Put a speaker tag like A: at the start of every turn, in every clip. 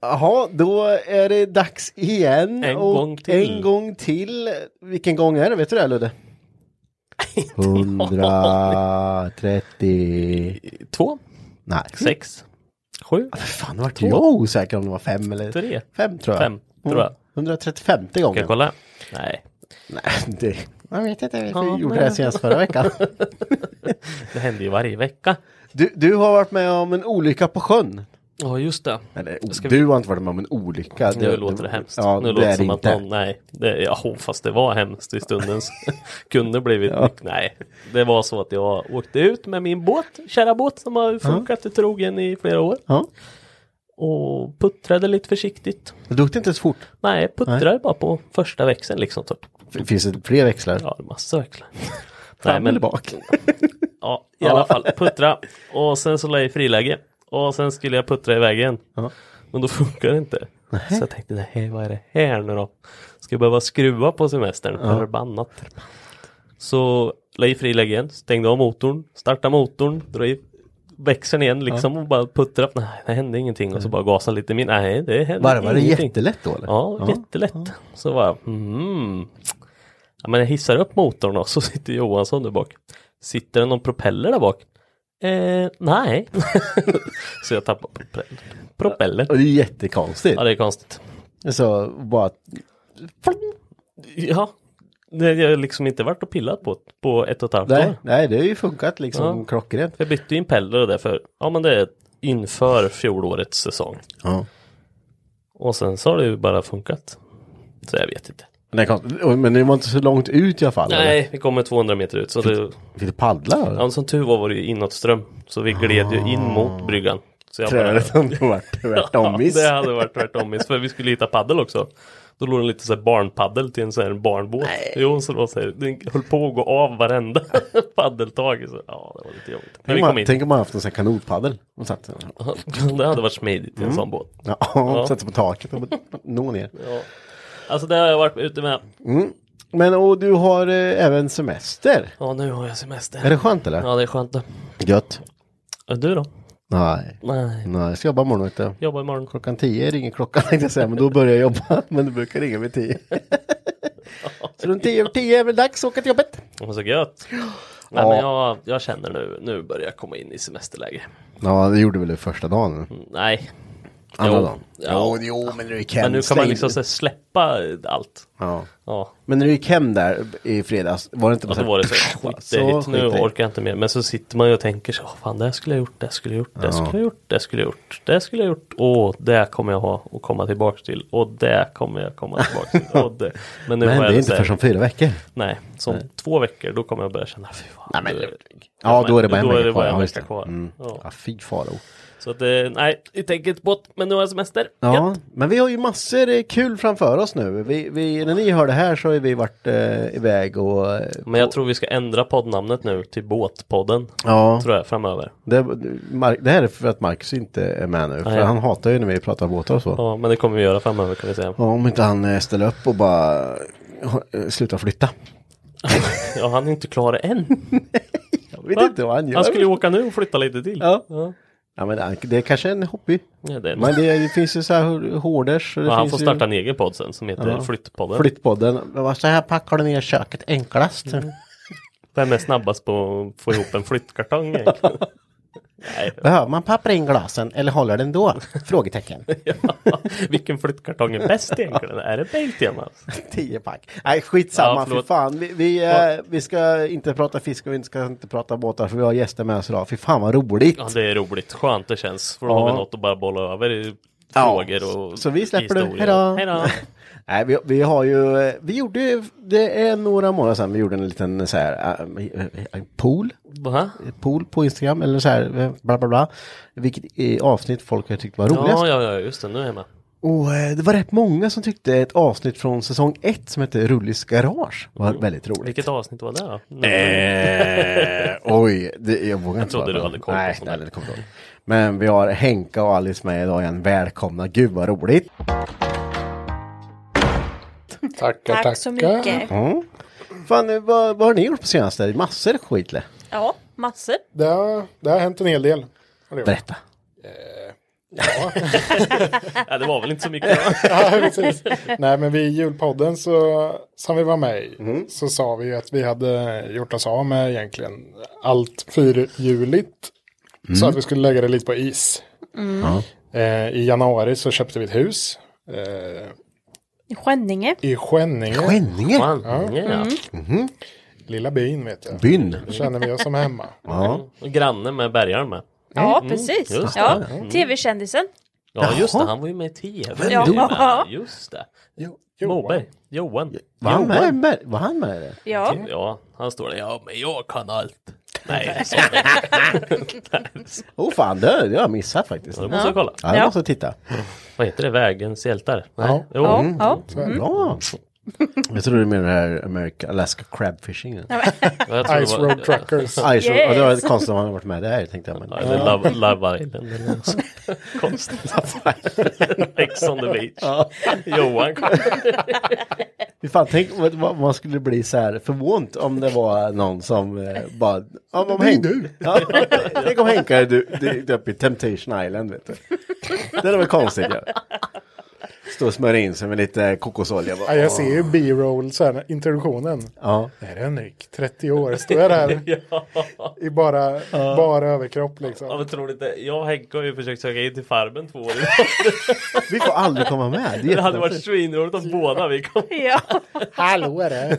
A: Jaha, då är det dags igen.
B: En
A: och
B: gång till.
A: En gång till. Vilken gång är det? Vet du det Ludde? 130.
B: Två,
A: Nej.
B: sex, sju,
A: Fan, vart jag osäker om det var fem eller?
B: Tre.
A: Fem tror jag.
B: Fem, tror jag.
A: Mm, 135
B: ska
A: gången.
B: jag kolla? Nej,
A: Nej, det, jag vet inte. Vi
B: Ja,
A: gjorde
B: men-
A: det här senast förra veckan.
B: det händer ju varje vecka.
A: Du, du har varit med om en olycka på sjön.
B: Ja, just det.
A: Eller,
B: Ska vi-
A: Du har inte varit med om en olycka.
B: Nu låter det hemskt.
A: Ja,
B: nu
A: det
B: låter
A: är
B: det
A: det
B: som
A: inte.
B: att någon, nej, det, ja, fast det var hemskt i stunden. så Kunde blivit, nej. Det var så att jag åkte ut med min båt, kära båt som har funkat i trogen i flera år.
A: Ja.
B: Och puttrade lite försiktigt.
A: Du åkte inte så fort.
B: Nej, puttrade bara på första växeln liksom. Typ.
A: F- Finns det fler växlar?
B: Ja, det är massa växlar.
A: Fram eller bak?
B: Ja, i alla fall puttra. Och sen så la jag i friläge. Och sen skulle jag puttra i vägen.
A: Ja.
B: Men då funkar det inte. Så jag tänkte, nej vad är det här nu då? Ska jag behöva skruva på semestern? Förbannat. Så la i friläge igen, stängde av motorn, startade motorn, dra i växeln igen liksom och bara puttra. Nej, det hände ingenting. Och så bara gasa lite min. Nej, det hände
A: Varvar det
B: ingenting.
A: jättelätt då eller?
B: Ja, jättelätt. Så bara, mm. Ja, men jag hissar upp motorn och så sitter Johansson där bak. Sitter det någon propeller där bak? Eh, nej. så jag tappar propeller. propeller.
A: Och det är jättekonstigt.
B: Ja, det är konstigt.
A: Så bara...
B: Ja, det jag har liksom inte varit och pillat på på ett och ett halvt
A: Nej,
B: år.
A: nej, det har ju funkat liksom
B: Ja.
A: klockrent.
B: Jag bytte ju impeller och därför, ja men det är inför fjolårets säsong.
A: Ja.
B: Och sen så har det ju bara funkat. Så jag vet inte.
A: Men det är konstigt. Och- Men det var inte så långt ut i alla fall. eller?
B: Nej, vi kommer 200 meter ut så det,
A: Fick du paddla då?
B: Ja, men som tur var var det ju inåtström. Så vi gled ju in
A: Ah.
B: mot bryggan. Så jag
A: Trädet hade varit tvärtommiss.
B: Ja, det hade varit tvärtommiss. För vi skulle hitta paddel också. Då låg det lite så här barnpaddel till en sån här barnbåt. Jo, så det var så här, den höll på att gå av varenda paddeltag. Så, ja, det var lite jobbigt. Men vi
A: Tänk
B: kom
A: om,
B: in.
A: tänk om man haft en sån här kanotpaddel. Och satt, Mm.
B: Det hade varit smidigt i en sån båt.
A: ja,
B: Ja.
A: satt sig på taket och bara nå ner. Mm.
B: Ja. Alltså det har jag varit ute med.
A: Men och du har eh, även semester.
B: Ja, nu har jag
A: Är
B: semester.
A: det skönt eller?
B: Ja, det är skönt det.
A: Gött.
B: Och Du då?
A: Nej.
B: Nej,
A: Nej, jag ska jobba imorgon vet du.
B: jobbar imorgon.
A: Klockan tio ringer klockan tänkte jag säga, men då börjar jag jobba. Men det brukar ringa vid tio. Så runt tio över tio är väl dags att åka till jobbet.
B: Och så gött. Nej, men jag, jag känner nu, nu börjar jag komma in i semesterläge.
A: Ja, det gjorde väl det första dagen.
B: Nej.
A: Andra
B: Jo.
A: dagen.
B: Ja.
A: Jo, jo, men när du gick hem.
B: Men nu kan man
A: släng-
B: liksom så här släppa allt.
A: Ja.
B: Ja,
A: Men när du gick hem där i fredags, var det inte
B: och då
A: här-
B: var det så skitdejt. Nu
A: skitdejt.
B: orkar jag inte mer. Men så sitter man ju och tänker så, "Åh, fan det här skulle jag gjort, det här skulle jag gjort, det här skulle jag gjort, det här skulle jag gjort, det här skulle jag gjort. Åh, det kommer jag ha och komma tillbaks till. Och det kommer jag komma tillbaks till. Och det. Men nu
A: Men
B: har
A: det
B: jag
A: är
B: så
A: inte
B: här-
A: förrän om fyra veckor.
B: Nej, som två veckor då kommer jag börja känna, fy fan. Nej, men,
A: Ja, då är det bara en
B: då är
A: vecka
B: det bara
A: kvar.
B: en
A: Ja, just
B: vecka
A: det.
B: kvar.
A: Mm.
B: Ja.
A: Ja, fy faro.
B: Så att, eh, nej, vi tänker inte på det, men nu har jag semester.
A: Ja,
B: Gött.
A: men vi har ju massor eh, kul framför oss nu. Vi, vi, när ni hör det här så har vi varit eh, iväg och... eh,
B: Men jag tror vi ska ändra poddnamnet nu till Båtpodden.
A: Ja,
B: Tror jag framöver.
A: det, Mark, det här är för att Marcus inte är med nu. För
B: Nej.
A: han hatar ju när vi pratar båtar och så. Ja.
B: Ja, men det kommer vi göra framöver kan vi säga.
A: om inte han eh, ställer upp och bara eh, slutar flytta.
B: Ja, han är inte klar än.
A: Jag vet inte vad han gör.
B: Han skulle ju åka nu och flytta lite till.
A: Ja.
B: ja.
A: Ja, men han- det är kanske en hobby.
B: Ja, det är
A: Men det, det finns ju så här hårders. och det
B: Ja, han
A: finns
B: får
A: ju-
B: starta en egen podd sen som heter Flyttpodden.
A: Flyttpodden. Men vad- Så här packar du ner köket enklast.
B: Mm. Vem är snabbast på att få ihop en flyttkartong egentligen? Nej,
A: Behöver man papper in glasen eller håller den då? Frågetecken.
B: vilken flyttkartong är bäst egentligen? Är det Bengtjemas?
A: Tio pack. Nej skitsamma,
B: Ja,
A: för
B: förlåt.
A: fan. Vi, vi, eh, vi ska inte prata fisk och vi ska inte prata båtar för vi har gäster med oss idag. Fy fan vad roligt.
B: Ja, det är roligt. Skönt det känns. För då har vi
A: Ja.
B: något att bara bolla över i
A: Ja,
B: frågor
A: så-
B: och
A: så vi släpper det.
B: historier.
A: Hejdå.
B: Hejdå!
A: Nej, vi, vi har ju, eh, vi gjorde, ju- det är några månader sedan vi gjorde en liten så här, eh, pool.
B: Va?
A: pool på Instagram eller så här, eh, bla bla bla. Vilket eh, avsnitt folk har tyckt var roligast.
B: Ja, ja, ja, just det. Nu är jag med.
A: Och eh, det var rätt många som tyckte ett avsnitt från säsong ett som hette Rullis garage var väldigt roligt.
B: Vilket avsnitt var det då?
A: Eh, oj, det, jag vågar inte.
B: trodde
A: svara
B: du
A: på
B: hade
A: det.
B: koll på
A: Nej,
B: sånt
A: nej,
B: där.
A: det kommer jag ihåg. Men vi har Henka och Alice med idag igen. Välkomna, gud vad roligt.
C: Tackar, tackar.
D: Tack så mycket.
A: Fan, eh, vad, vad har ni gjort på senaste? Massor skit eller?
D: Ja, massor.
C: Det har, det har hänt en hel del. Har det gjort. Eh,
A: Berätta.
B: Ja, det var väl inte så mycket.
C: Ja, precis. Nej, men vid julpodden så, som vi var med i
A: Mm.
C: så sa vi ju att vi hade gjort oss av med egentligen allt fyrhjuligt.
A: Mm.
C: Så att vi skulle lägga det lite på is.
D: Mm.
C: Eh, I januari så köpte vi ett hus eh,
D: I Skänninge.
C: i Skänninge, Mm.
A: Skänninge? Mm-hmm.
B: Man, ja.
C: lilla byn vet jag.
A: Byn?
C: Känner vi oss som hemma.
A: Ja.
B: Och grannen med bärgaren med. Mm,
D: Ja, precis.
B: just det. Mm.
D: ja. Tv-kändisen.
B: Ja, just det. Han var ju med i TV.
D: Ja.
B: Du med, Just det.
C: Jo,
B: Moberg. Johan.
A: Var han med, med, var han med i det?
D: Ja.
B: Ja, han står där. Ja, men jag kan allt. Nej, så,
A: Åh oh, fan, det har jag missat faktiskt.
B: då måste jag kolla.
A: Ja, jag
D: Ja.
A: måste titta.
B: Vad heter det? Vägens hjältar? Nej.
C: Ja.
B: Jo.
D: Ja, ja.
A: Bra! Jag tror du menar det här America, Alaska crab fishing.
B: Jag tror det
C: Ice
B: var-
C: Road Truckers.
A: Ice yes. Det var
D: Yes.
A: konstigt om han har varit med där tänkte jag. Men...
B: Ja, Eller Love, Love Island eller något sånt. Konstigt. Ex on the beach. Johan kom.
A: Fy Fan, tänk vad- vad man skulle bli så här förvånad om det var någon som eh, bara... Om, om Henk... du. Ja, tänk om Henke hade du- dykt upp i Temptation Island. Vet du. Det hade varit konstigt. Ja. Stå och smörja in sig med lite kokosolja.
C: Ja,
A: Bara,
C: jag ser ju B-roll, så här, introduktionen.
A: ja.
C: Det här är Henrik, 30 år, står jag där i bara, bara överkropp
B: Ja,
C: liksom.
B: men tror du inte? Jag och Henke har ju försökt söka in till Farmen två år idag.
A: Vi får aldrig komma med. Det, är
B: Det hade varit
A: jättekonstigt.
B: svinroligt om båda vi kom.
D: ja.
C: Hallå är det?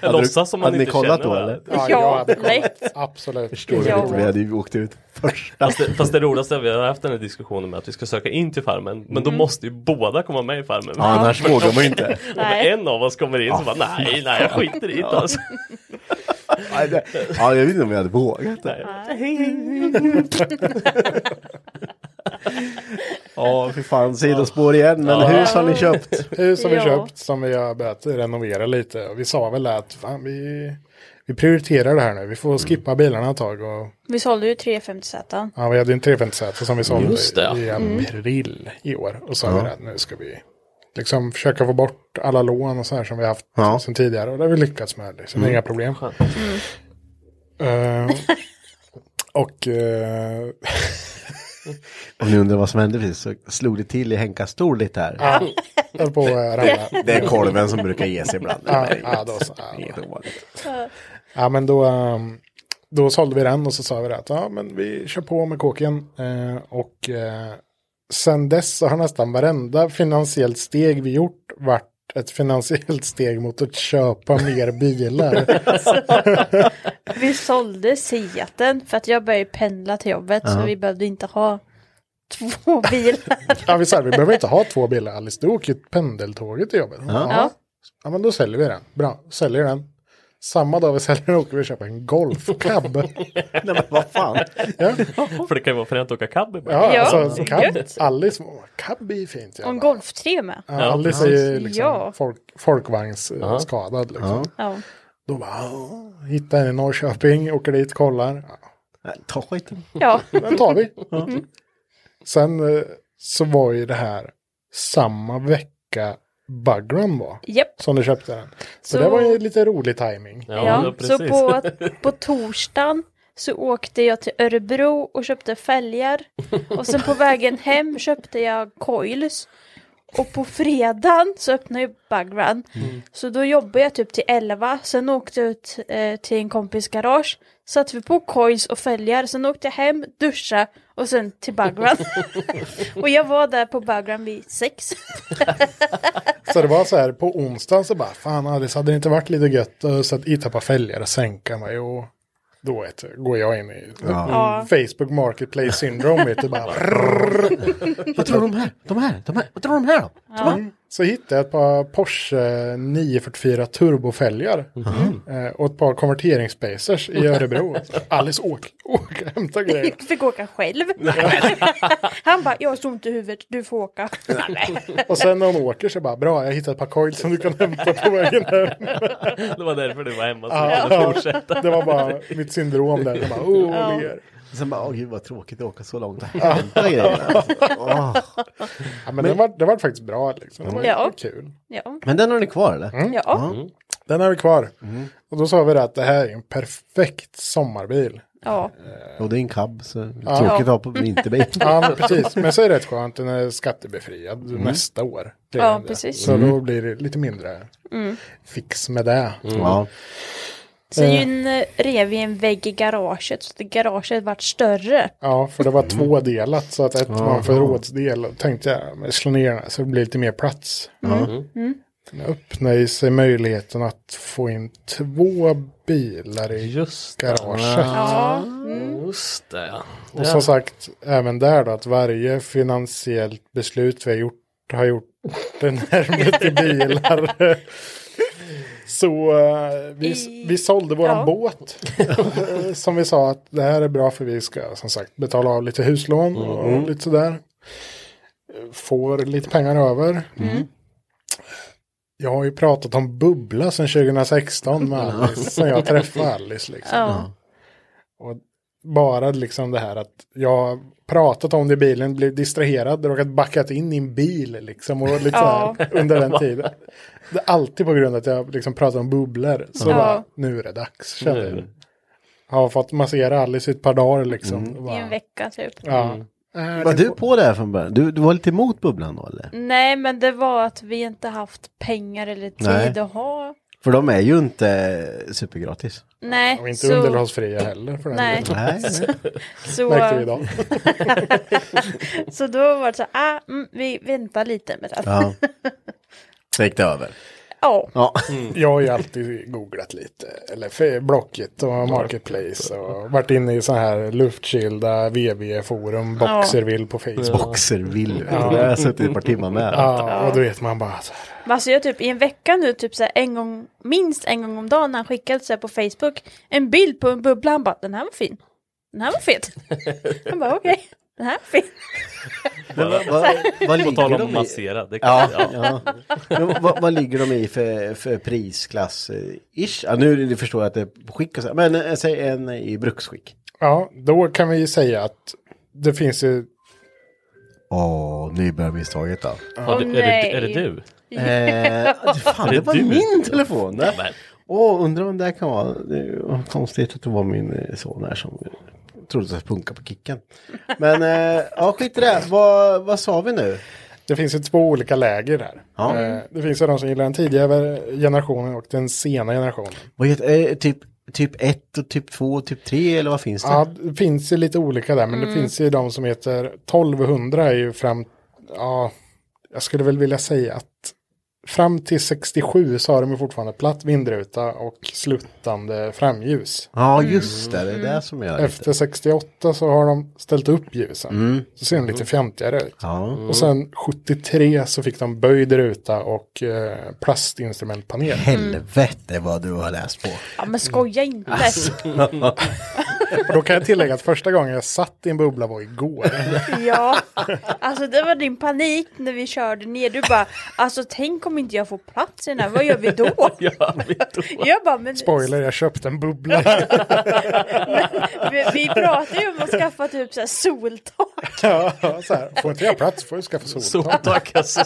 B: Jag
A: du-
B: låtsas som man
A: hade ni
B: inte
A: kollat
B: känner
A: då,
B: varandra.
A: eller?
C: Ja, jag
D: ja.
C: hade kollat.
D: lätt.
C: Absolut.
A: Förstår du
D: Ja.
A: inte? Vi hade ju åkt ut första.
B: Fast det, fast det roligaste är att vi har haft den här diskussionen med att vi ska söka in till Farmen. Men
D: Mm.
B: då måste ju båda komma med i Farmen.
A: Annars vågar man ju inte.
B: Om
D: Nej.
B: en av oss kommer in så bara nej, nej jag skiter i det alltså.
A: Nej, det- Ja, jag vet inte om jag hade vågat det. Ja, fy fan, sidospår igen. Men hus har ni köpt?
C: Hus har vi
D: Ja.
C: köpt som vi har börjat renovera lite. Och vi sa väl att fan, vi, vi prioriterar det här nu. Vi får skippa bilarna ett tag. Och,
D: Vi sålde ju 350 Z.
C: ja, vi hade ju en 350Z som vi sålde
B: Just det.
C: i april i år. Och sa vi att nu ska vi liksom försöka få bort alla lån och så här som vi haft
A: Ja.
C: sedan tidigare. Och det har vi lyckats med. Liksom. Inga problem. Eh, och eh,
A: Om ni undrar vad som hände precis så slog det till i Henkas stol lite här.
C: höll på att ramla.
A: Det är kolven som brukar ge sig ibland.
C: Ja, ja, då så. Ja,
A: Helt ovanligt.
C: Ja, men då, ehm, då sålde vi den och så sa vi det att ja, men vi kör på med kåken. Eh, och eh, sen dess så har nästan varenda finansiellt steg vi gjort varit ett finansiellt steg mot att köpa mer bilar.
D: Vi sålde Seaten för att jag började pendla till jobbet så vi behövde inte ha två bilar.
C: ja, vi sa vi behöver inte ha två bilar Alice, du åker ju pendeltåget till jobbet. Ja.
D: Ja.
C: ja, men då säljer vi den. Bra, säljer den. Samma dag vi säljer den åker vi och köper en golfcab.
E: Nej men vad fan.
C: ja,
B: För det kan ju vara fränt att åka cab ibland.
C: ja,
D: Ja,
C: alltså cab.
D: gött.
C: Alice, åh, cab är ju fint.
D: Och en
C: jävlar.
D: Golf 3 med.
C: Ja, Alice är ju liksom
D: Ja.
C: folk, folkvagnsskadad. Liksom.
D: Ja.
C: Då bara, "Åh, hittar en i Norrköping, åker dit, kollar. Ja,
E: Nej, Ta skiten.
D: ja.
C: Den tar vi. Sen eh, så var ju det här samma vecka Bugrun var.
D: Japp.
C: Som du köpte den. Så,
D: Så-
C: det var ju lite rolig timing.
B: Ja,
D: Ja,
B: precis.
D: så på, på torsdagen så åkte jag till Örebro och köpte fälgar. Och sen på vägen hem köpte jag coils. Och på fredagen så öppnade jag Bugrun.
B: Mm.
D: Så då jobbade jag typ till 11. Sen åkte jag ut eh, till en kompis garage. Satte vi på coils och fälgar. Sen åkte jag hem, duscha och sen till Bugrun. och jag var där på Bugrun vid sex.
C: Så det var så här på onsdagen så bara, fan Alice hade det inte varit lite gött eh, att sätta i tappa fälgar och sänka mig och då vet du, går jag in i
D: Ja.
C: Facebook Marketplace Syndrome vet du bara. brrrr.
E: Vad tror de här? De här? De här? Vad tror de här då?
C: Mm. Så hittade jag ett par Porsche 944 turbofälgar
E: Mhm.
C: eh, och ett par konverteringsspacers i Örebro. Alice åk, åk och hämta grejer.
D: Fick åka själv. Han bara, jag såg inte huvudet, du får åka.
C: Och sen när hon åker så bara, bra jag hittade ett par coils som du kan hämta på vägen hem.
B: Det var därför du var hemma. Så
C: Ja,
B: vi kunde
C: ja.
B: fortsätta.
C: Det var bara mitt syndrom där. Jag bara, oh, ler.
E: Sen bara, åh gud vad tråkigt att åka så långt och hämta grejer. Alltså. Åh.
C: Ja, men det var, det var faktiskt bra. Liksom. Det var
D: Ja.
C: kul. Mm.
D: Ja.
E: Men den har ni kvar eller? Mm.
D: ja.
C: Den är vi kvar. Och då sa vi det att det här är en perfekt sommarbil.
D: Ja,
E: Eh, Och det är en cab så tråkigt att ha på vinterbil.
C: Ja, men precis. Men så är det rätt skönt. Den är skattebefriad
E: Mm.
C: nästa år. Det är
D: Ja,
C: den.
D: precis. Mm.
C: Så då blir det lite mindre fix med det.
E: Ja.
D: syn eh, rev i en vägg i garaget så att garaget vart större.
C: Ja, för det var
B: Mm.
C: två delat. Så att ett var en förrådsdel. Och tänkte jag, men slå ner den här så det blir lite mer plats.
B: Mm.
C: Nu öppnar ju sig möjligheten att få in två bilar i
B: Just
C: garaget.
D: Ja, Mm.
B: Just det. ja.
C: Och som sagt, även där då, att varje finansiellt beslut vi har gjort har gjort den närmare till bilar. Så eh, vi, vi sålde våran
D: Ja.
C: båt. Eh, som vi sa att det här är bra för vi ska som sagt betala av lite huslån och lite sådär. Eh, Får lite pengar över. Jag har ju pratat om bubbla sedan 2016 med Alice, sen jag träffade Alice. Liksom.
D: ja,
C: Och bara liksom det här att jag har pratat om det i bilen, blev distraherad, råkat backat in i en bil liksom och lite
D: Ja.
C: så här under den tiden. Det är alltid på grund av att jag liksom pratar om bubblor. Så
D: Ja.
C: bara, nu är det dags. Känner jag. Har fått massera Alice i ett par dagar liksom.
E: Mm.
C: Och
D: i en
C: Bara,
D: vecka typ.
C: ja. Eh,
E: Var du på Eh, det här från början? Du, du var lite emot bubblan då eller?
D: Nej, men det var att vi inte haft pengar eller tid
E: Nej.
D: att ha.
E: För de är ju inte supergratis.
D: Nej,
C: Och inte
D: så,
C: underhållsfria heller för den
D: Nej.
C: delen.
E: Nej.
D: så, eh,
C: Märkte vi idag.
D: så då var det så här, ah, mm, vi väntar lite med det.
E: Ja. Så gick det över.
D: Ja,
E: Ja.
C: Mm. Jag har ju alltid googlat lite, eller för- Blocket och Marketplace och varit inne i så här luftkylda VB-forum, Boxerville på Facebook.
E: Boxer vill. Det har jag suttit ett par timmar med.
C: Ja, och då vet man bara så här.
D: men alltså jag typ i en vecka nu, typ så här en gång, minst en gång om dagen, när han skickade så här på Facebook, en bild på en bubbla, han bara, den här var fin. Den här var fet. Han bara, okej, den här var fin.
E: Vad, vad
B: På
E: ligger
B: tal om
E: de i?
B: massera. Det kan,
E: Ja,
B: ja.
E: ja. Men vad, vad ligger de i för, för prisklass? eh, Ish? Ja, nu är det- förstår jag att det är på skick och så, men eh, säg en i bruksskick.
C: Ja, då kan vi ju säga att det finns ju,
E: Åh, nybörjarmisstaget då.
B: Har du, är, det, är det
D: nej.
B: du?
E: Eh, fan, det var
B: du?
E: min telefon. där.
B: men.
E: Åh, undrar om det här kan vara. Det var konstigt att det var min eh, son här som eh, trodde att punka på kicken. Men eh, ja, skit i det. Vad, vad sa vi nu?
C: det finns ju två olika läger här.
E: Ja.
C: Eh, Det finns ju de som gillar den tidigare generationen och den sena generationen.
E: Vad heter, eh, typ, typ 1 och typ 2 och typ 3 eller vad finns det?
C: Ja, det finns ju lite olika där, men det finns ju de som heter 1200 är ju fram, ja, jag skulle väl vilja säga att fram till 67 så har de ju fortfarande platt vindruta och slutande framljus.
A: Ja, just det. Det är det som gör det.
C: Efter 68 så har de ställt upp ljusen. Så ser de lite fjantigare ut.
A: Mm. Ja.
C: Och sen 73 så fick de böjd ruta och eh, plastinstrumentpanel.
F: Helvete vad du har läst på.
D: Ja men skoja inte.
E: Alltså.
D: Alltså.
C: Och då kan jag tillägga att första gången jag satt i en bubbla var igår.
D: Ja. Alltså det var din panik när vi körde ner. Du bara, alltså tänk om inte jag får plats i den här, vad gör vi då?
B: Ja, vet du.
D: Jag bara, men
C: Spoiler, jag köpte en bubbla.
D: vi, vi pratar ju om att skaffa typ så här soltak.
C: ja, så här. Får inte jag plats får jag skaffa soltak.
B: Soltak alltså.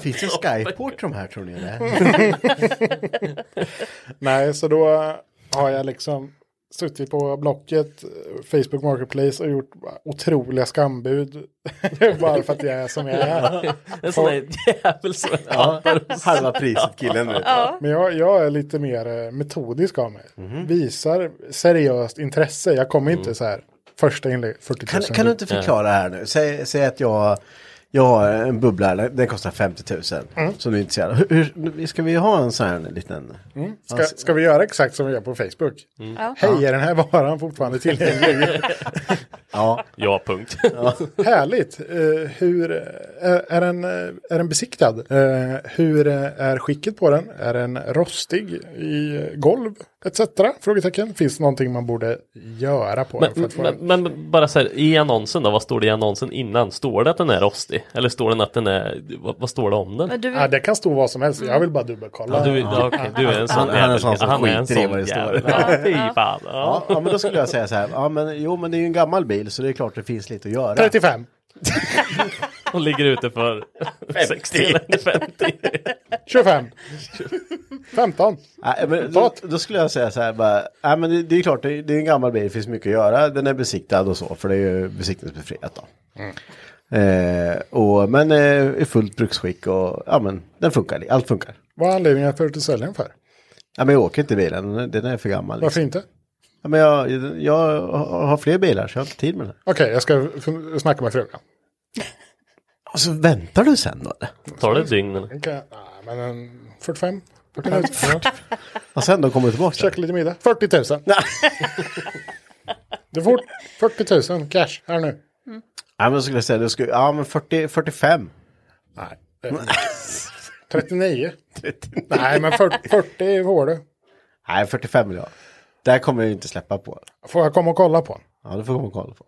A: Finns det skyport de här tror ni? Det?
C: Nej, så då har jag liksom suttit på Blocket, Facebook Marketplace och gjort otroliga skambud. Bara för att jag är som jag är.
B: En sån där jävel som jag hatar.
A: Halva priset killen vet du.
C: Men jag, jag är lite mer eh, metodisk av mig. Visar seriöst intresse. Jag kommer inte så här första inlägg 40 000.
A: Kan, kan du inte förklara här nu? Säg, säg att jag, jag har en bubbla, den den kostar 50 000. Som du är intresserad av. Hur, hur, ska vi ha en sån här liten?
C: Mm. Ska, ska vi göra exakt som vi gör på Facebook?
D: Ja.
C: Hej, är den här varan fortfarande tillgänglig?
A: Ja,
B: Ja, punkt.
C: Härligt. Eh, hur, eh, är, är, den, eh, är den besiktad? Eh, hur eh, är skicket på den? Är den rostig i eh, golv? Etc. Frågetecken. Finns det någonting man borde göra på den? För
B: Men,
C: att få
B: men,
C: den?
B: men bara så här, i annonsen då, vad står det i annonsen innan? Står det att den är rostig? Eller står den att den är, vad, vad står det om den?
D: Men du, Mm.
C: Ja, det kan stå vad som helst. Jag vill bara dubbelkolla.
B: Ja, du, ja, okej, du är en sån
A: Han- han är en
B: jävel.
A: sån som
B: Han är en
A: skiter i vad
B: sån
A: det står.
B: jävel. Ja, fy fan.
A: ja,
B: Ja.
A: ja, men då skulle jag säga så här. Ja, men, jo, men det är ju en gammal bil så det är klart det finns lite att göra.
C: 35.
B: Och ligger ute för 60 eller 50.
C: 25. 15.
A: Nej, men då, då skulle jag säga så här bara, nej, men det, det är klart, det, det är en gammal bil, det finns mycket att göra, den är besiktad och så, för det är ju besiktningsbefriat då. Eh, och, men eh, i fullt bruksskick och ja men den funkar, allt funkar.
C: Vad är anledningen för att du säljer den för?
A: Ja, men jag åker inte i bilen, den- den är för gammal.
C: Varför
A: Liksom.
C: inte?
A: Ja, men jag, jag har fler bilar så jag har inte tid med den här.
C: Okej, jag ska f- snacka med frugan.
A: Och så väntar du sen då? eller?
B: Tar det ett dygn eller?
C: Den kan- Nej, men en 45. 40 minuter.
A: Och sen då kommer du tillbaka?
C: Käka lite middag. 40 000. Du får 40 000 cash här nu.
A: Ja men då skulle jag säga, då skulle, ja men 40, 45.
C: Nej. 39. Nej, men 40, 40 får du.
A: Nej 45 vill jag ha. Där kommer jag ju inte släppa på.
C: Får jag komma och kolla på den?
A: Ja det får komma och kolla på.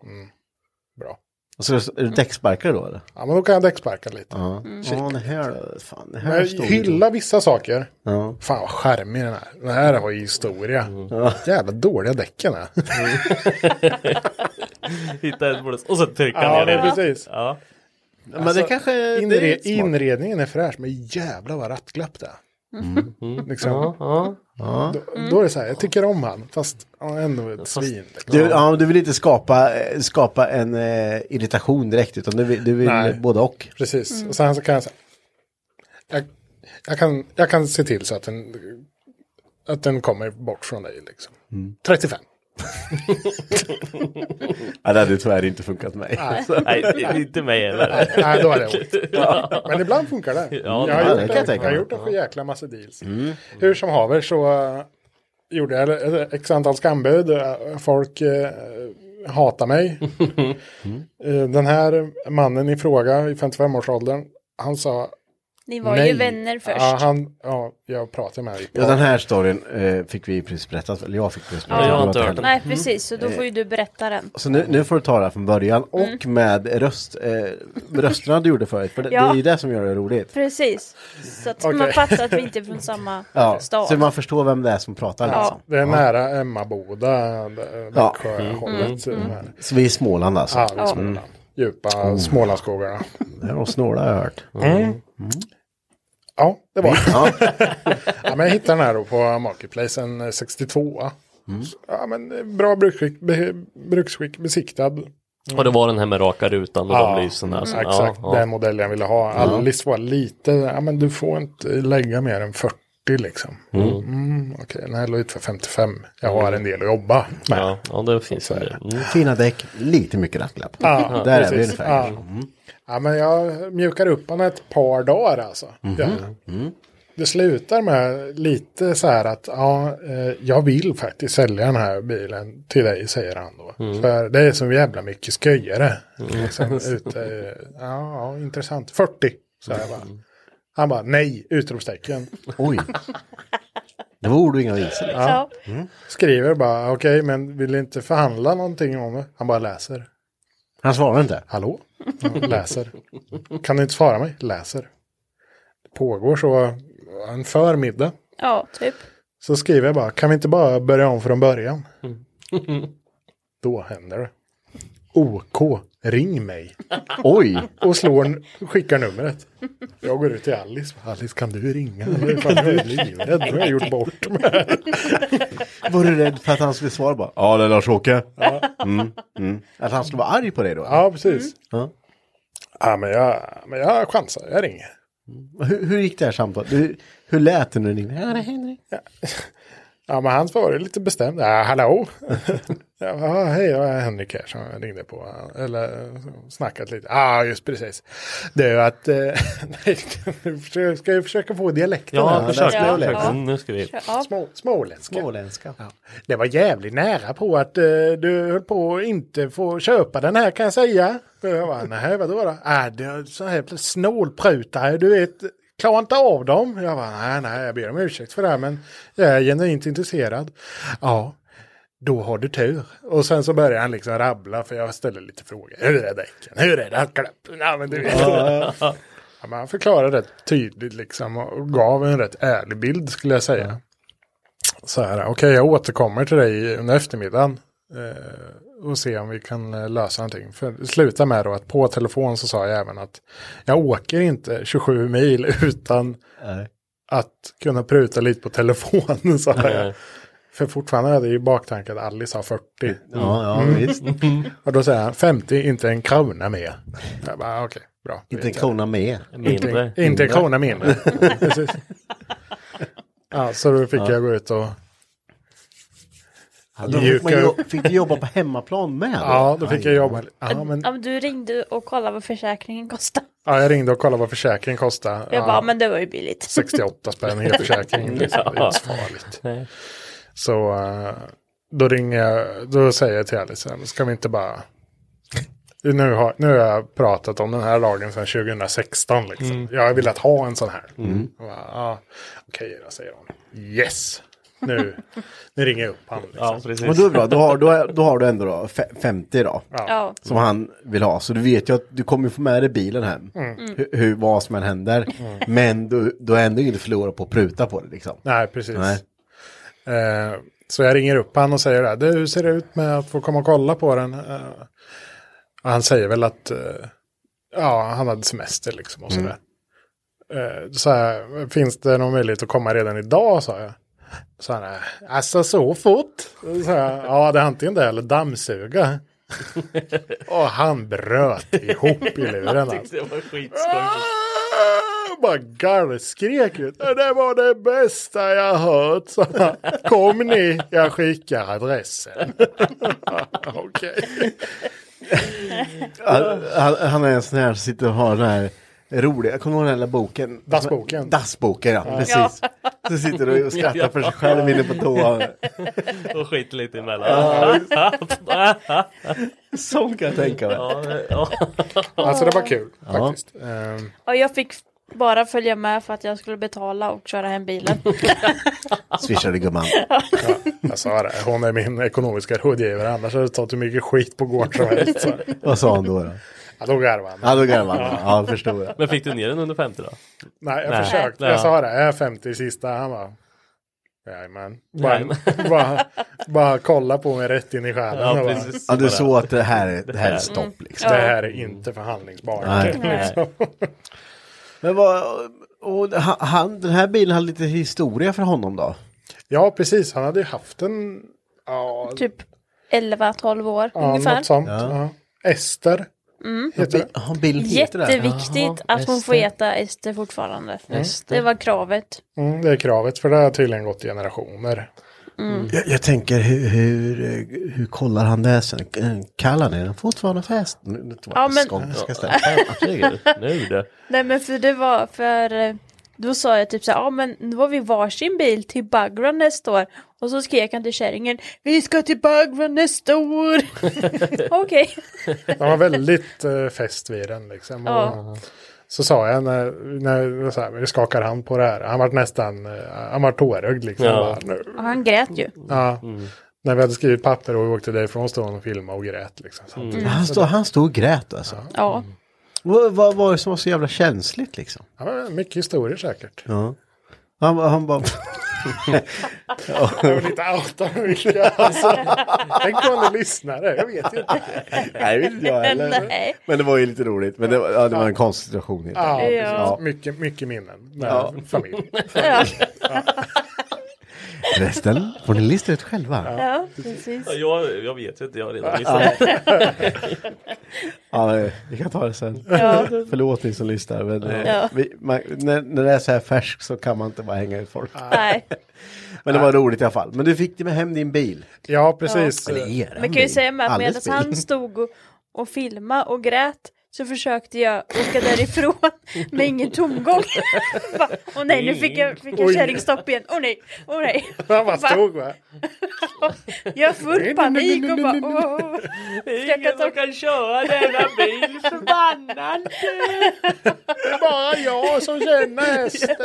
C: Bra.
A: Och så är det däcksparkare då eller?
C: Ja, men då kan jag däcksparka lite.
A: Ja,
B: Mm.
A: ja det här då, fan, det här
C: Men
A: stod
C: hylla vissa saker.
A: Ja.
C: Fan vad charmig den här. Den här har ju historia.
A: Mm.
C: Jävla dåliga däcken är.
B: Hitta ett bord och så trycka
C: Ja,
B: ner
C: men
B: det.
C: precis.
B: Ja. Alltså,
A: Men det kanske det är
C: Alltså, Inre,
A: smart.
C: inredningen är fräsch, men jävla vad rattglapp det är.
A: Mm.
C: Liksom,
B: Ja.
C: då, då är det så här, jag tycker om han, fast han är ändå ett svin. Liksom.
A: Du, ja, men du vill inte skapa, eh, skapa en eh, irritation direkt utan du vill, du vill
C: Nej.
A: både och.
C: Precis,
B: Mm.
C: och sen så kan jag säga. Jag, jag, kan, jag kan se till så att den, att den kommer bort från dig. Liksom.
A: Mm.
C: 35. Mm-hmm.
A: Ja, det hade tyvärr inte funkat mig.
B: Nej, det är inte mig heller.
C: Nej, då är det ont. Men ibland funkar det.
B: Ja,
C: jag, har
A: det
C: gjort det.
A: kan jag
C: Jag,
A: tänka
C: har
A: mig.
C: gjort det för jäkla massa deals.
A: Mm.
C: Mm. Hur som haver så eh, gjorde jag ett x antal skambud. Eh, Folk eh, hatar mig.
A: Mm.
C: Eh, Den här mannen i fråga i 55-årsåldern, han sa
D: ni var
C: nej.
D: ju vänner först.
C: Ja, han, ja, jag pratade med honom.
A: Ja, den här storyn eh, fick vi i princip berättat, eller jag fick precis berättat. Mm.
B: jag har
A: Det
B: inte
A: var
B: hört den.
C: Mm.
A: henne.
D: Nej precis, så
C: Eh.
D: då får ju du berätta den.
A: Så nu, nu får du ta det här från början
C: Mm.
A: och med röst, eh, rösterna du gjorde förut, för det, det är ju det som gör det roligt.
D: Precis, så att man
C: Okej.
D: fattar att vi inte är från samma
A: Ja,
D: stad.
A: så man förstår vem det är som pratar liksom.
C: Det är nära Emmaboda,
A: Ja. Mm,
C: Växjöhållet. Mm.
A: Så vi är i Småland alltså. Mm.
C: Ja, det är Småland. Djupa Mm. Smålandsskogarna.
A: Det är de snåla jag har hört.
C: Ja, det var det. ja, men jag hittade den här då på Marketplace, en 62.
A: Mm.
C: Så, Ja, men eh, bra bruksskick, be, bruksskick besiktad.
B: Och det var den här med raka rutan och
C: Ja, mm,
B: de lysen. Alltså.
C: Exakt,
B: Ja, ja.
C: den modellen jag ville ha. Alice var lite, ja men du får inte lägga mer än 40 liksom. Mm. Okej, den här låg ut för 55. Jag har en del att jobba med.
B: Ja, ja, det finns en del. Mm.
A: Fina däck, lite mycket rattlapp. Där är vi
C: precis.
A: ungefär. Mm.
C: Ja. Ja, men jag mjukar upp honom ett par dagar alltså.
A: Mhm.
C: Jag,
A: Mm.
C: Det slutar med lite så här att ja, eh, jag vill faktiskt sälja den här bilen till dig, säger han då.
A: Mm.
C: För det är så jävla mycket sköjare. Liksom, ute, ja, ja, intressant. 40, så jag bara.
A: Mm.
C: Han bara nej, utropstecken.
E: Oj. Det var ord och inga visor. liksom.
D: Ja.
C: Skriver bara okej, men vill inte förhandla någonting om det. Han bara läser.
E: Han svarade inte.
C: Hallå? Ja, Läser. Kan du inte svara mig? Läser. Det pågår så en förmiddag.
D: ja, typ.
C: Så skriver jag bara, kan vi inte bara börja om från början?
E: Mm.
C: Då händer det. OK, ring mig.
E: Oj.
C: Och slår, skickar numret. Jag går ut till Alice. Alice, kan du ringa? Jag är fan, jag är livrädd, nu har jag gjort bort mig.
E: Var du rädd för att han skulle svara bara? Ja, det är Lars-Åke. Mm, mm. Att han skulle vara arg på dig då?
C: Ja, precis.
E: Ja.
C: Ja, men jag, men jag chansar, jag ringer.
E: Mm. Hur, hur gick det här samtalet? Hur, hur lät det när du ringde? Ja, det är Henrik.
C: Ja, men han svarade lite bestämt. Ja, hallå? ja, ja, hej, jag är Henrik här som jag ringde på. Eller eh, snackat lite. Ja, ah, just precis. Det är ju att... eh, Nej, nu försöker- ska jag försöka få dialekten?
B: Ja,
C: här?
B: försök.
D: ska jag
B: försök.
D: lägga.
B: Mm, nu ska vi.
D: Ja.
C: Små, småländska.
E: Småländska.
C: Det var jävligt nära på att eh, du höll på att inte få köpa den här kan jag säga. Och Jag bara, nej vadå då? Äh, det är så här snålprutare, du vet. Klarar inte av dem. Jag bara, nej, nej, jag ber om ursäkt för det här, men jag är genuint intresserad. Ja, då har du tur. Och sen så börjar han liksom rabbla, för jag ställer lite frågor. Hur är däcken? Hur är dacklappen? Ja, men du vet. Ja, men han förklarade rätt tydligt liksom och gav en rätt ärlig bild skulle jag säga. Så här, okej jag återkommer till dig under eftermiddagen eh, och se om vi kan eh, lösa någonting. För det slutar med då att på telefon så sa jag även att jag åker inte 27 mil utan
E: Nej.
C: att kunna pruta lite på telefonen sa jag. För fortfarande hade jag ju baktanken att Alice har 40.
E: Ja, ja visst.
C: Och då säger han 50, inte en krona mer. Jag bara okej, bra.
E: Inte en krona med.
B: Mindre.
C: Inte, inte en krona mindre. Precis. ja, så då fick jag gå ut och...
E: Då fick, man jo- fick du jobba på hemmaplan med?
C: Ja, då fick jag jobba. Ja, men,
D: Ja, men du ringde och kollade vad försäkringen kostade.
C: ja, jag ringde och kollade vad försäkringen kostade.
D: Jag bara,
C: Ja,
D: men det var ju billigt.
C: 68 spänn i försäkringen. Liksom. Det är inte så farligt.
B: Nej.
C: Så eh, då ringer jag, då säger jag till Alice, ska vi inte bara... Nu har, nu har jag pratat om den här lagen sedan 2016. Liksom.
E: Mm.
C: Jag har velat ha en sån här. Mm. Ja, Okej då, säger hon. Yes! Nu, nu ringer jag upp honom. Liksom.
B: Ja, precis.
E: Men då är det bra, då har, då, har- då har du ändå då fe- 50 då.
D: Ja,
E: Som han vill ha. Så du vet ju att du kommer få med dig bilen hem.
C: Mm.
E: Hur, hur, vad som än händer. Men du, du har ändå inget att förlora på att pruta på det liksom.
C: Nej, precis.
E: Nej.
C: Eh, så jag ringer upp han och säger det här. Du, hur ser det ut med att få komma och kolla på den? Eh, och han säger väl att eh, ja, han hade semester liksom och
A: Mm.
E: Mm.
C: sådär. Eh, så här, finns det någon möjlighet att komma redan idag, sa jag. Så han, eh, alltså så fort? Så jag, ja, det är antingen det eller dammsuga. och han bröt ihop i luren. Alltså.
B: Det var skitskoj.
C: Ah, Bara gallskrek ut. Det där var det bästa jag hört. sa han. Kom ni, jag skickar adressen. Okej.
E: Han, han, han är en sån här som sitter och har den här roliga, jag kommer ihåg den här lilla boken.
C: Dassboken.
E: Dassboken, ja. Precis. Så sitter du och skrattar för sig själv inne på toan.
B: Och skit lite emellan. Ja,
E: Sån kan jag tänka mig.
B: det- ja.
C: Alltså det var kul faktiskt. Ehm,
D: och jag fick bara följa med för att jag skulle betala och köra hem bilen.
E: Swishade gumman.
C: jag sa det, hon är min ekonomiska rådgivare. Annars hade jag tagit hur mycket skit på gård som helst. sa jag.
E: Vad sa han då? då?
C: Ja, då garvade han.
E: Ja, då garvade han. Ja, jag förstår jag.
B: Men fick du ner den under 50 då?
C: Nej, jag
B: Nej.
C: försökte.
B: Nej.
C: Jag sa det, jag är 50 i sista. Han bara, jajamän. Bara,
B: Jajamän.
C: bara, bara kolla på mig rätt in i själen.
B: Ja,
C: och bara,
B: precis.
E: Ja, du såg att det här, är- det här är stopp liksom.
C: Det här är inte förhandlingsbart. liksom.
E: Nej.
B: Nej.
E: Men vad, och ha- han, den här bilen hade lite historia för honom då?
C: Ja, precis. Han hade ju haft en... Ja,
D: Typ 11-12 år
C: ja
D: ungefär. Mm.
C: något sånt. Ja. Ester. Heter det.
E: Ja, bilen heter det.
D: Jätteviktigt att hon får äta ester fortfarande. Det var kravet.
C: Mm, det är kravet, för det har tydligen gått i generationer.
A: Jag, jag tänker hur, hur, eh, hur kollar han det här sen? Eh, Kallar ni den fortfarande för häst? Nu- nu tror jag
D: Ja,
A: att
D: men-
A: skånska stället.
B: Herregud, nu det.
D: Nej men för det var för eh, då sa jag typ så här, ja men nu har vi varsin bil till Bugrun nästa år. Och så skrek han till kärringen, vi ska till Bugrun nästa år. Okej.
C: De var väldigt eh, fäst vid den liksom.
D: Ja.
C: Och så sa jag när, när så här, vi skakar hand på det här. Han var nästan, eh, han var tårögd liksom.
B: Ja.
C: Han bara, "Nu."
D: Och han grät ju.
C: Ja.
A: Mm.
C: När vi hade skrivit papper och vi åkte därifrån stod han och filmade och grät liksom. samtidigt.
B: Mm.
A: Han, stod, han stod och grät alltså.
D: Ja.
A: Vad, vad var det som var så jävla känsligt liksom?
C: Ja, men mycket historier säkert.
A: Ja. Han, han bara...
C: Jag vill inte outa mycket. Alltså, tänk på alla lyssnare, jag vet inte.
A: Nej, det inte jag
D: Nej.
A: Men det var ju lite roligt. Men det var, ja, det var en konstig situation. helt
C: Ja,
A: enkelt.
C: precis.
D: Ja.
C: Mycket, mycket minnen med
A: Ja.
C: familj.
D: Ja,
A: Resten får ni lista ut själva.
D: ja precis.
B: Ja, jag, jag vet ju inte, jag har redan lyssnat.
A: Ja, men vi kan ta det sen.
D: Ja.
A: Förlåt ni som lyssnar. Men eh,
D: Ja.
A: vi, man, när, när det är så här färskt så kan man inte bara hänga ut folk.
D: Nej.
A: Men det var roligt i alla fall. Men du fick med hem din bil.
C: Ja, precis.
A: Eller er
D: Men kan ju
A: bil.
D: säga med att
A: Alles
D: medan
A: bil.
D: han stod och, och filmade och grät så försökte jag åka därifrån med ingen tomgång. Bara, Åh nej, nu fick jag, fick jag
C: Oj.
D: kärringstopp igen. Åh nej, åh nej.
C: Han bara stod va?
D: Jag har full panik och bara åh, åh. Ska jag ta
B: kan köra denna bil, förbannad!
C: Det är bara jag som känner hästen.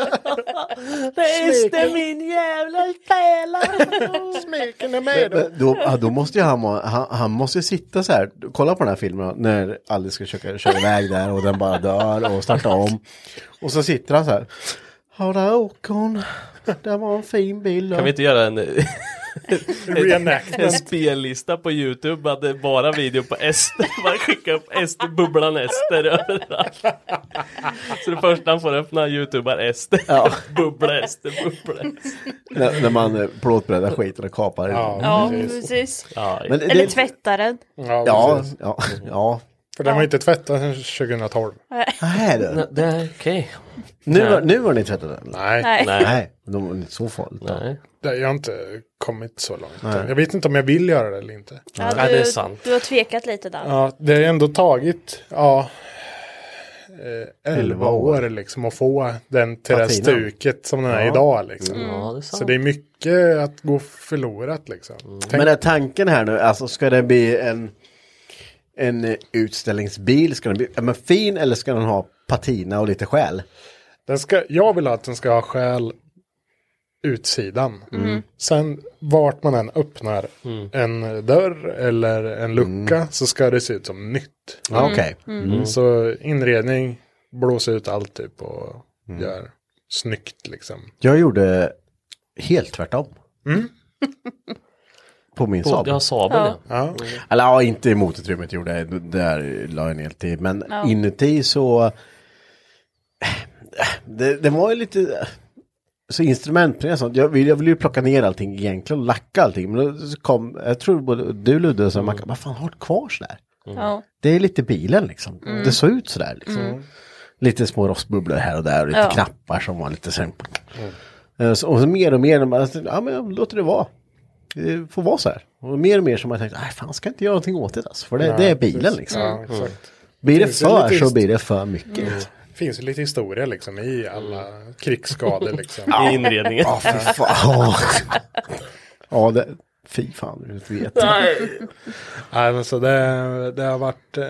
B: Hästen min jävla pelare!
C: Smeken är med.
A: Men Då, ja, då måste ju han, vara- han, han måste ju sitta så här, kolla på den här filmen när Alice ska försöka köra iväg där och den bara dör och startar om. Och så sitter han så här. Ja, där åker hon. Det var en fin bil.
B: Kan vi inte göra en, en
C: Reenactment.
B: spellista på Youtube? Att det är bara video på Ester. Man skickar upp Ester, bubblan Ester överallt. Så det första han får öppna Youtube är Ester.
A: Ja.
B: Bubbla Ester, bubbla Ester.
A: När, när man eh, plåtbreddar skiten och kapar.
C: Ja,
D: Ja, precis.
B: Ja,
A: Men det-
D: Eller tvätta den.
C: Ja,
A: Ja,
C: precis.
A: ja, ja.
C: För den var inte tvättad sedan 2012.
A: Nej, du.
B: det är okej.
A: Nu, har- nu har ni tvättat den?
C: Nej,
D: Nej.
A: Nej, de var inte så farligt.
B: Nej.
C: det- jag har inte kommit så långt. Jag vet inte om jag vill göra det eller inte.
D: Ja,
B: Ja,
D: du,
B: det är sant.
D: Du har tvekat lite där.
C: Ja, det har ändå tagit, ja, eh, 11
A: år.
C: år liksom att få den till det här
A: Patina.
C: stuket som den är idag liksom.
B: Mm. Ja, det är sant.
C: Så det är mycket att gå förlorat liksom. Tänk,
A: Mm. Men är tanken här nu, alltså ska det bli en, en eh, utställningsbil? Ska den bli ja, men fin eller ska den ha patina och lite själ?
C: den ska, jag vill att den ska ha skäl utsidan.
B: Mm.
A: Mm.
C: Sen vart man än öppnar en dörr eller en lucka så ska det se ut som nytt.
A: Mm. Ja,
B: Mm.
A: Okej. Mm.
C: Så inredning, blås ut allt typ och
A: Mm.
C: gör snyggt liksom.
A: Jag gjorde helt tvärtom. På min
B: Mm. På-
A: Saab.
B: Ja, Saaben ja.
C: Ja,
A: Eller ja, inte i motorutrymmet gjorde jag, det där la jag en hel tid. Men inuti så... eh, Det, det var ju lite... eh, Så instrumentprenär och sånt, jag ville jag vill ju plocka ner allting egentligen och lacka allting. Men då kom, jag tror både du Ludde och så
B: Mm.
A: Mackan, vad fan har du kvar sådär?
D: Ja. Mm.
A: Det är lite bilen liksom. Det såg ut sådär liksom. Lite små rostbubblor här och där och lite
D: Ja.
A: knappar som var lite så här- Eh, så- Och så mer och mer, man, ja men jag låter det vara. Det får vara så här. Och mer och mer som man tänkte, nej fan ska jag inte göra någonting åt det alltså. För det, det är bilen liksom.
C: ja
B: Mm.
C: exakt.
A: Blir det
C: Precis,
A: för
C: lite
A: så
C: just-
A: blir det för mycket. liksom.
C: Mm. Finns ju lite historia liksom i alla krigsskador liksom.
B: I inredningen.
A: Ja, fy fan. ja, det, fy fan, du vet.
C: Nej, men så det, det har varit, eh,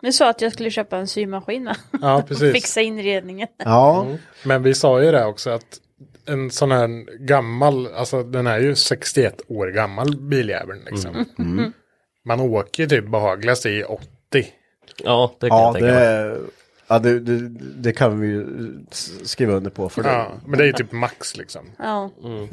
D: Du sa att jag skulle köpa en symaskin va?
C: ja precis.
D: Fixa inredningen.
A: Ja,
C: Mm. Men vi sa ju det också att en sån här gammal, alltså den är ju 61 år gammal biljäveln liksom.
B: Mm.
A: Mm.
C: Man åker ju typ behagligast i 80.
B: Ja, det kan
A: ja,
B: jag tänka mig.
A: det, ja det, det, det kan vi ju s- skriva under på. För det,
C: Ja, men det är ju typ max liksom.
D: Ja.
B: Mm.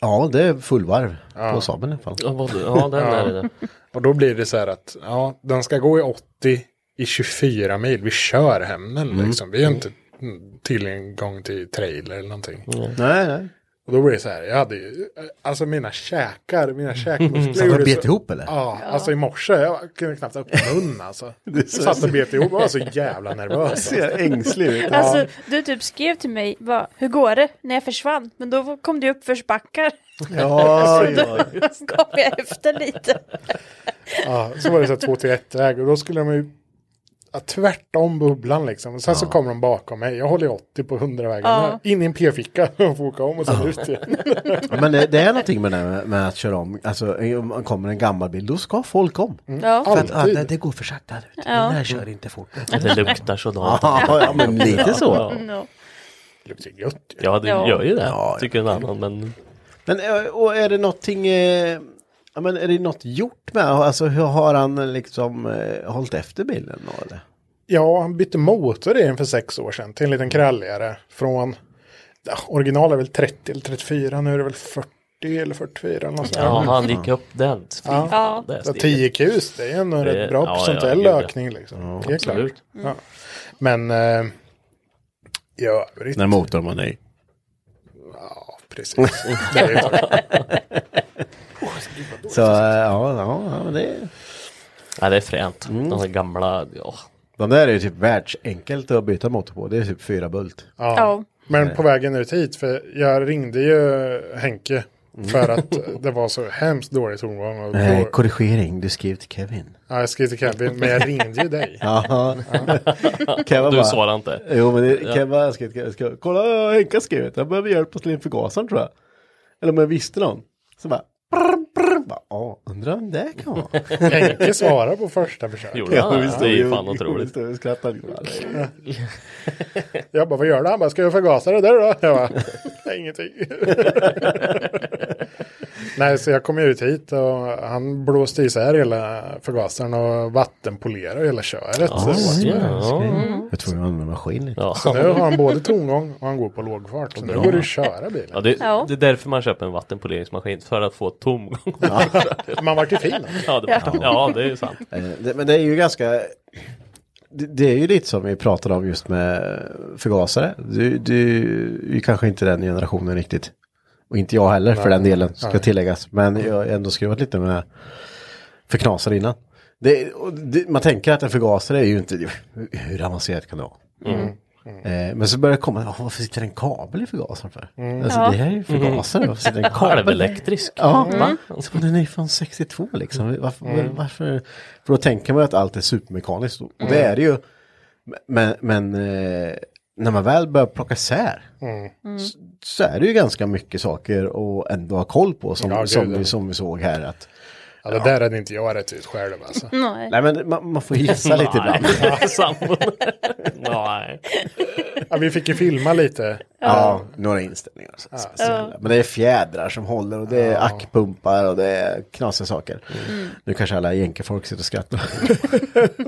A: Ja, det är fullvarv på Saaben i alla fall.
B: Ja, vad- Ja, den är det.
C: Och då blir det så här att ja, den ska gå i 80 i 24 mil. Vi kör
B: Mm.
C: liksom. hem den liksom. Vi har inte mm, tillgång till trailer eller någonting.
A: Nej, nej.
C: Och då blir det så här, jag hade ju, alltså mina käkar, mina käkmuskler.
A: Satt du och
C: gjorde
A: bet
C: så-
A: ihop eller?
C: Ja, alltså i morse, jag kunde knappt öppna munnen alltså. Jag satt och bet ihop, jag var så jävla nervös.
E: Ser jag ängslig ut.
D: Alltså, du typ skrev till mig, va, hur går det? När jag försvann. Men då kom du upp för backar.
E: Ja, ja.
D: kom jag efter lite.
C: Ja, så var det så här två till ett väg och då skulle de ju ja, tvärtom bubblan liksom. Och sen så kommer de bakom mig, jag håller 80 på 100 vägen.
D: Ja.
C: In i en p-ficka och får åka om och sen ut igen.
A: Men det, det är någonting med det här med, med att köra om. Alltså om man kommer en gammal bil, då ska folk om.
D: Ja.
A: För att, ja,
C: Mm. Alltid.
A: det, det går för sakta. du vet. Den där kör inte fort.
B: Det luktar sådant.
A: Ja, ja, men lite så.
B: Ja,
D: No.
C: Det luktar gött ju.
B: ja det
D: Ja.
B: gör ju det.
A: Ja, ja.
B: Tycker en annan. Men
A: Men eh, och är det någonting, eh, ja, men är det något gjort med, alltså hur har han eh, liksom eh, hållit efter bilen då eller?
C: Ja, han bytte motor i den för sex år sedan till en
B: Mm.
C: liten kralligare. Från, ja, original är väl 30 eller 34, nu är det väl 40 eller 44 eller något sånt. Mm.
B: ja, han gick upp den. Fy fan, det är
C: Ja,
B: steget.
C: 10 kus, det är en rätt bra
B: ja,
C: procentuell
B: ja, gud, ja.
C: ökning liksom. det är klart.
B: Absolut.
C: Ja. Men eh, i övrigt,
A: När motorn var ny.
C: ja precis. Det är ju klart.
A: Så eh, ja, ja, ja, men det,
B: Ja, det är fränt.
A: Mm.
B: De här gamla, ja.
A: de där är ju typ världsenkelt att byta motor på, det är typ fyra bult.
D: Ja.
B: Eh.
C: Men på vägen ut hit, för jag ringde ju Henke
A: Mm.
C: för att det var så hemskt dålig tongång. Och
A: Eh,
C: då,
A: korrigering, du skrev till Kevin.
C: ja, jag skrev till Kevin, men jag ringde ju dig.
A: Ja, Kevin
B: Du
A: bara-
B: svarar inte.
A: Jo, men det, Kevin har skrivit, jag ska, kolla vad Henke har skrivit, han behöver hjälp att slå in förgasaren tror jag. Eller om jag visste någon. Så bara, brr, brr, bara ja, undrar vem det kan vara.
C: Henke svarade på första försöket.
B: Gjorde han?
A: visst,
B: det är ju
A: vi-
B: fan otroligt.
A: Vi skrattade lite grann.
C: Jag bara, vad gör du? Han bara, ska jag förgasa det där då? Jag bara, ingenting. Nej, så jag kom ju ut hit och han blåste isär hela förgasaren och vattenpolerade hela köret. så det var-
B: Ja.
A: Jag tror jag använder maskin lite.
B: Ja.
C: nu har han både tongång och han går på lågfart. Så nu går det att köra bilen.
B: Ja, det,
D: Ja.
B: det är därför man köper en vattenpoleringsmaskin, för att få tomgång.
C: Man vart ju fin.
B: Ja, det, ja, det är ju sant.
A: Eh, det- Men det är ju ganska... Det, det är ju lite som vi pratade om just med förgasare. Du, du är kanske inte den generationen riktigt. Och inte jag heller för den delen, ska tilläggas. Men jag har ändå skruvat lite med förknasare innan. Det, och det, man tänker att en förgasare är ju inte... Hur avancerat kan det vara? Eh, men så börjar det komma, "Ja, varför sitter det en kabel i förgasaren för? Alltså det här är ju förgasare, varför sitter det en kabel?
B: Halvelektrisk.
A: Ja, va? Så Den är ju från 62
C: Mm.
A: liksom. Varför, varför? För då tänker man ju att allt är supermekaniskt. Och det
C: Mm.
A: är det ju. Men, men eh, när man väl börjar plocka sär. Så, så är det ju ganska mycket saker och ändå ha koll på. Som,
C: Ja, gud,
A: som,
C: ja.
A: vi, som vi såg här. Att,
C: Ja, det där hade inte jag rätt ut själv alltså.
A: nej men man, man får gissa lite ibland.
B: Nej, sambon. Nej.
C: Ja, vi fick ju filma lite.
A: Ja, några inställningar. Så, speciella. Men det är fjädrar som håller och det är ackpumpar och det är knasiga saker. Nu kanske alla jänkefolk sitter och skrattar.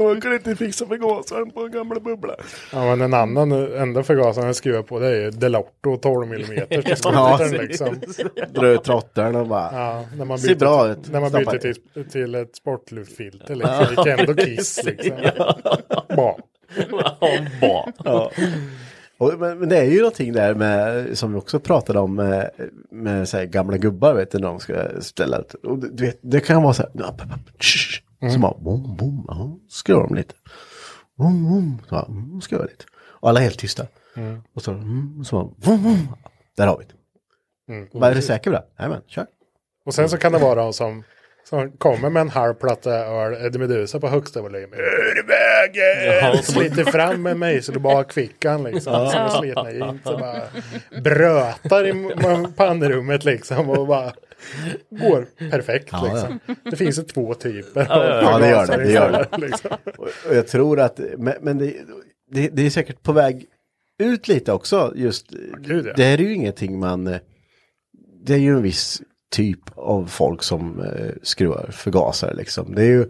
A: Man kan inte fixa förgasaren på en gamla bubbla.
C: Ja, men en annan, enda förgasaren jag skruvar på det är ju Delorto 12 mm.
A: Ja,
C: ja, liksom.
A: Drar ut trotteln och bara.
C: ja, när man
A: Ser
C: byter,
A: bra ut.
C: När man
A: Stoppar
C: byter till, till ett sportluftfilter liksom. Det gick ändå kiss liksom. Bra.
B: Ja, bra.
A: Och, men, men det är ju någonting där med, som vi också pratade om, med, med så här gamla gubbar, vet du, när de ska ställa ut. Och du du vet, det kan vara så här, ja, pa, pa, tsch, så bara, bom, bom, ja, skruvar de lite. Bom, bom, så bara, mm, skruvar lite. Och alla är helt tysta. Och så, mm, så bara, bom, bom, där har vi det. Vad är du säker på det? Jajamän, kör.
C: Och sen så kan det vara de som, som kommer med en halv platta öl, Eddie Meduza på högsta volym. Ur vägen!
B: Ja.
C: Sliter fram med mejsel och bakfickan liksom. Som är slitna jeans och bara brötar i m- pannrummet liksom. Och bara går perfekt liksom. Det finns ju två typer.
A: Ja, det gör det, det gör det.
C: Liksom.
A: Och- Och jag tror att, men, men det, det, det är säkert på väg ut lite också. Just,
C: gud, ja.
A: Det här är ju ingenting man, eh, det är ju en viss typ av folk som eh, skruvar förgasare liksom. Det är ju,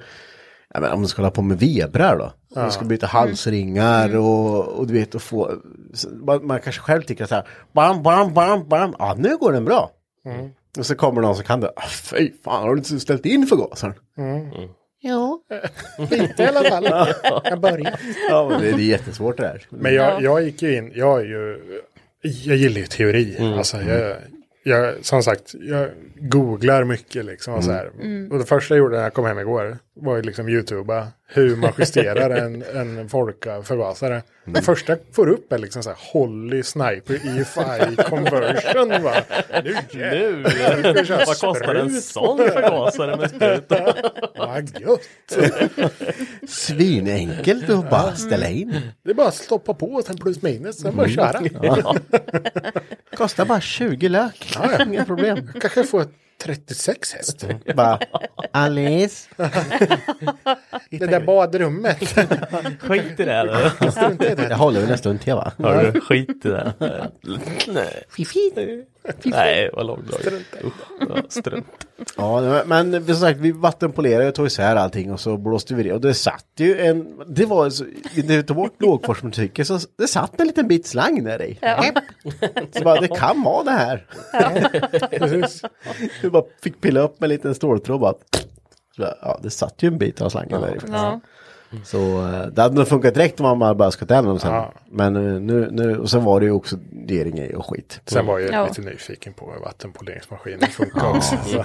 A: jag menar, om man ska hålla på med vebrar då. Om man ska byta halsringar
C: Mm.
A: och, och du vet och få, så man, man kanske själv tycker så här, bam, bam, bam, bam, ja nu går den bra. Och så kommer någon som kan det, "Ah, fy fan har du inte ställt in förgasaren? Mm. Ja.
C: Lite i alla fall. Jag börjar.
A: Ja, men det, det är jättesvårt det här. Mm.
C: Men jag, jag gick ju in, jag är ju, jag gillar ju teori. Alltså jag, jag, som sagt, jag googlar mycket liksom. Och, så här.
A: Mm.
C: och det första jag gjorde när jag kom hem igår var ju liksom youtuba hur man justerar en, en Folka-förgasare.
A: Mm.
C: Det första jag får upp är liksom så här Holly Sniper EFI Conversion va. Nu
B: Nu!
C: jävlar, vi kör
B: Vad kostar en
C: sprut.
B: sån förgasare med spruta?
C: Vad gött! Mm.
A: Svinenkelt att bara ställa in. Mm.
C: Det är bara att stoppa på och sen plus minus, sen bara köra.
A: Kostar bara 20 Ah, lök. Inga problem.
C: Jag kanske får 36 häst.
A: Mm. Bara, Alice.
C: Det där badrummet.
B: Skit i det här då.
A: Jag håller väl en stund till va?
B: Hör du? Skit i det här. Nej. Nej, vad långdraget. Usch, ja, Strunt.
A: Ja, men men som sagt, vi vattenpolerade och tog isär allting och så blåste vi det. Och det satt ju en, det var så, när vi tog bort lågforsmetycke så det satt en liten bit slang där i. Så bara, det kan vara det här.
C: Precis.
A: Vi bara fick pilla upp med en liten ståltråd bara. Så bara, Ja, det satt ju en bit av slangen där i.
D: Ja.
A: Så eh, det hade nog funkat direkt om man bara skött den dem sen.
C: Ja.
A: Men eh, nu, nu, och sen var det ju också dering och skit.
C: Sen var jag
D: Ja.
C: lite nyfiken på hur vattenpoleringsmaskinen funkar också. Så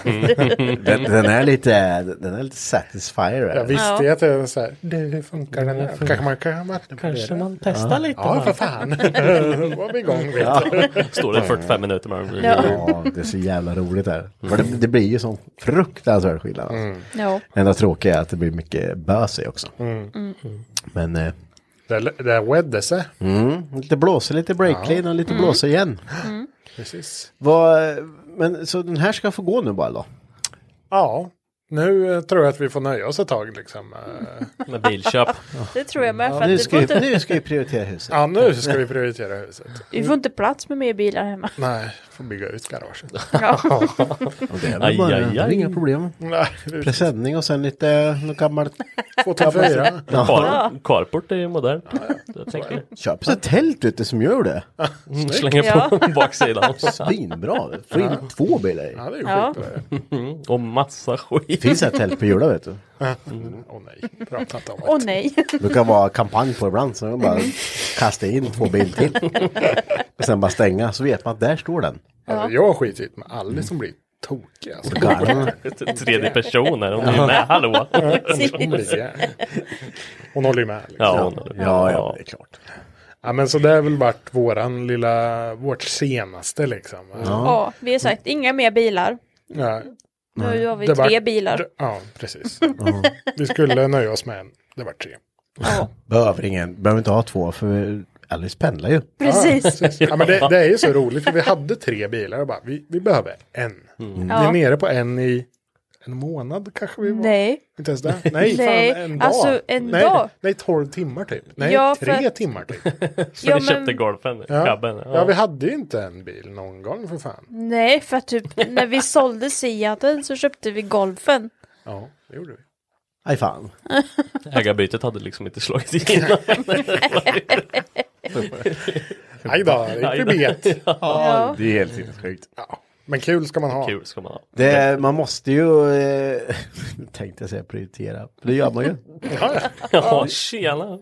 A: Den, den är lite, den är lite satisfier.
C: jag
A: är den.
C: visste ju att det var så här, det, hur funkar den här? Kanske man kan
B: Kanske
C: vattenpolera?
B: man testar lite.
C: Ja, för fan. Då var vi igång. Vet du.
B: Står det 45 minuter med
A: Ja, det är så jävla roligt där. För det, det blir ju sån fruktansvärd skillnad. Alltså.
C: Mm.
D: Ja. Mm.
A: Det enda tråkiga är att det blir mycket bös i också.
C: Mm.
A: Men eh, mm,
C: Det, det wedde sig.
A: lite blåser, lite breakclean och
D: Mm.
A: lite blåser igen.
C: Mm. Precis.
A: Vad, men så den här ska få gå nu bara då?
C: Ja, nu eh, tror jag att vi får nöja oss ett tag liksom.
A: Mm.
C: Eh,
B: Med bilköp.
D: Det tror jag med. För att
A: Nu
D: vi,
A: ska,
D: får
A: vi,
D: inte,
A: nu ska vi prioritera huset.
C: Ja, nu ska vi prioritera huset.
D: vi får inte plats med mer bilar hemma.
C: Nej, får bygga ut garaget.
D: Ja.
A: Och det är
B: Aj,
A: väl bara,
B: aj,
A: det är
B: aj.
A: inga problem.
C: Nej,
A: Presenning och sen lite eh, något gammalt.
C: 2004.
B: Car, carport är ju modernt. Jag tänker
A: Köp sig ett tält ute som gör det.
B: slänga Mm. på baksidan.
A: Svinbra. Få in två bilar i.
C: Ja, det är ju
D: Ja.
C: skitbra.
B: Mm, Och massa skit.
A: Finns ett tält på Jula vet du.
C: Åh nej, prata inte om det.
D: Åh nej.
A: Det kan vara kampanj på ibland så man bara kasta in två bil till. Och sen bara stänga så vet man att där står den.
C: Alltså, jag har skitit med alla som blir tokiga. Alltså.
A: Garven.
B: Tredje person här, hon är ju med. Hallå!
C: Hon, blir jävla- hon håller ju med. Liksom. Ja.
B: Ja, hon,
A: Ja, ja, det är klart.
C: men så det är väl vart våran lilla, vårt senaste liksom. Ja.
D: Ja, vi har sagt inga mer bilar. Nu har vi
C: Det var-
D: tre bilar.
C: ja, precis. Vi skulle nöja oss med en, det var tre.
A: Behöver ingen, behöver inte ha två för Alice pendlar ju.
D: Precis.
C: Ja, men det, det är ju så roligt för vi hade tre bilar och bara, vi, vi behöver en. Vi är
D: Mm. Ja.
C: nere på en i en månad kanske vi var.
D: Nej.
C: Inte ens det? Nej,
D: Nej,
C: fan en dag.
D: alltså, en
C: nej,
D: dag.
C: Nej, tolv timmar typ. Nej,
D: Ja, för
C: tre
D: att-
C: timmar typ.
B: Så
D: Ja,
B: ni
D: men,
B: köpte golfen,
C: Ja.
B: cabben.
C: ja, vi hade ju inte en bil någon gång för fan.
D: nej, för att typ när vi sålde Seaten så köpte vi golfen.
C: Ja, det gjorde vi.
A: Aj fan.
B: Ägarbytet hade liksom inte slagit igenom.
C: Aj då, det gick vi bet.
D: Ja.
A: Det är helt sinnessjukt.
C: Men kul ska man ha.
B: Kul ska man ha.
A: Det, man måste ju, eh, tänkte jag säga prioritera, för det gör man ju.
B: Ja, tjena!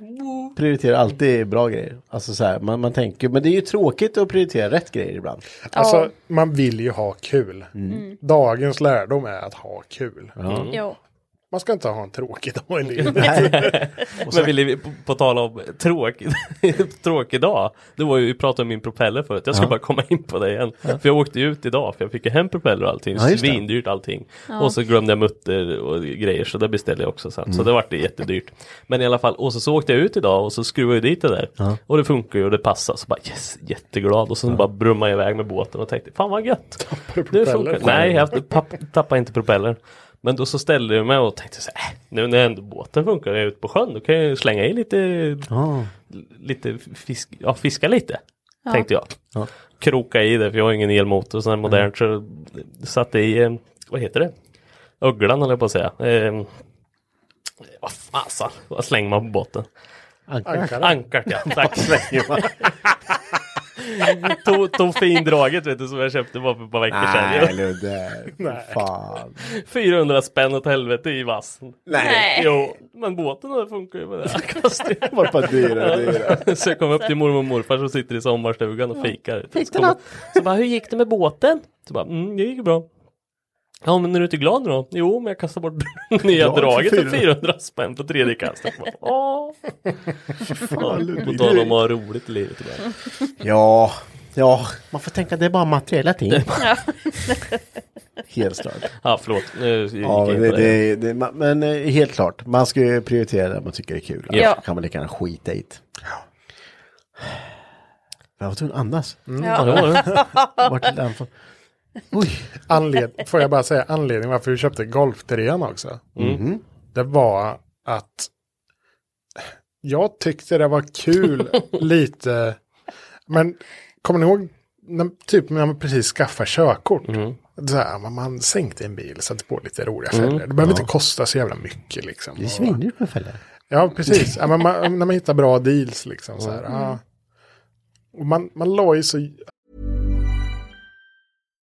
A: Prioritera alltid bra grejer. Alltså så här, man, man tänker, men det är ju tråkigt att prioritera rätt grejer ibland.
C: Alltså, man vill ju ha kul.
B: Mm.
C: Dagens lärdom är att ha kul.
D: Mm. Jo.
C: Man ska inte ha en tråkig dag i livet.
B: Men Willy, på, på tal om tråkig, tråkig dag. Det var ju, vi pratade om min propeller förut. Jag ska bara komma in på det igen. För jag åkte ju ut idag för jag fick ju hem propeller och allting.
A: Ja, just det.
B: Svindyrt allting. Och så glömde jag mutter och grejer så det beställde jag också sen.
A: Mm.
B: Så det vart det jättedyrt. Men i alla fall, och så, så åkte jag ut idag och så skruvade jag dit det där. Och det funkar ju och det passar. Så bara yes, jätteglad. Och så bara brummade jag iväg med båten och tänkte fan vad gött. Nu funkar det. Nej, jag papp, tappade inte propellern. Men då så ställde jag mig och tänkte så här, äh, nu när ändå båten funkar och jag är ute på sjön, då kan jag ju slänga in lite, lite fisk, ja, fiska lite. Tänkte jag. Kroka i det, för jag har ingen elmotor sån här modernt, så satte i, eh, vad heter det? Ugglan höll jag på att säga. Eh, vad fasen, vad slänger man på botten?
A: Ankar.
B: Ankart ja, tack. tog, tog findraget vet du som jag köpte bara för ett par veckor
A: Nej
B: sedan.
A: Ludde, fan.
B: 400 spänn åt helvete i vassen.
D: Nej.
B: Jo, men båten då funkar ju med det. här kostar
A: Bara på dyra, dyra.
B: ju. Så jag kom upp till mormor och morfar som sitter i sommarstugan och fikar. Fick du något? Så bara, hur gick det med båten? Så bara, mm, det gick bra. Ja men är du inte glad nu då? Jo men jag kastade bort nya
A: för
B: draget för
A: 400.
B: 400 spänn på tredje kastet. Jag bara, Åh! På tal om att ha roligt i livet. ibland.
A: Ja, ja. Man får tänka det är bara materiella ting. Helt klart.
B: Ja, förlåt. Nu gick jag
A: Ja, men,
B: in
A: det,
B: på det.
A: det, det, ma- men eh, helt klart, man ska ju prioritera det man tycker är kul.
B: Ja.
A: Annars kan man lika gärna skita i det. Jag var tvungen att andas.
B: Ja, det var det.
A: Vart är den från? Oj,
C: Anled... Får jag bara säga anledningen varför vi köpte golftrean också? Mm. Det var att jag tyckte det var kul lite. Men kommer ni ihåg när, typ när man precis skaffar körkort? Så här, man, man sänkte en bil, satte på lite roliga fällor. Det behöver inte kosta så jävla mycket liksom.
A: det är svindyrt med fällor.
C: Ja, precis. Ja, men man, när man hittar bra deals liksom. Så här, ja. Och man, man la ju så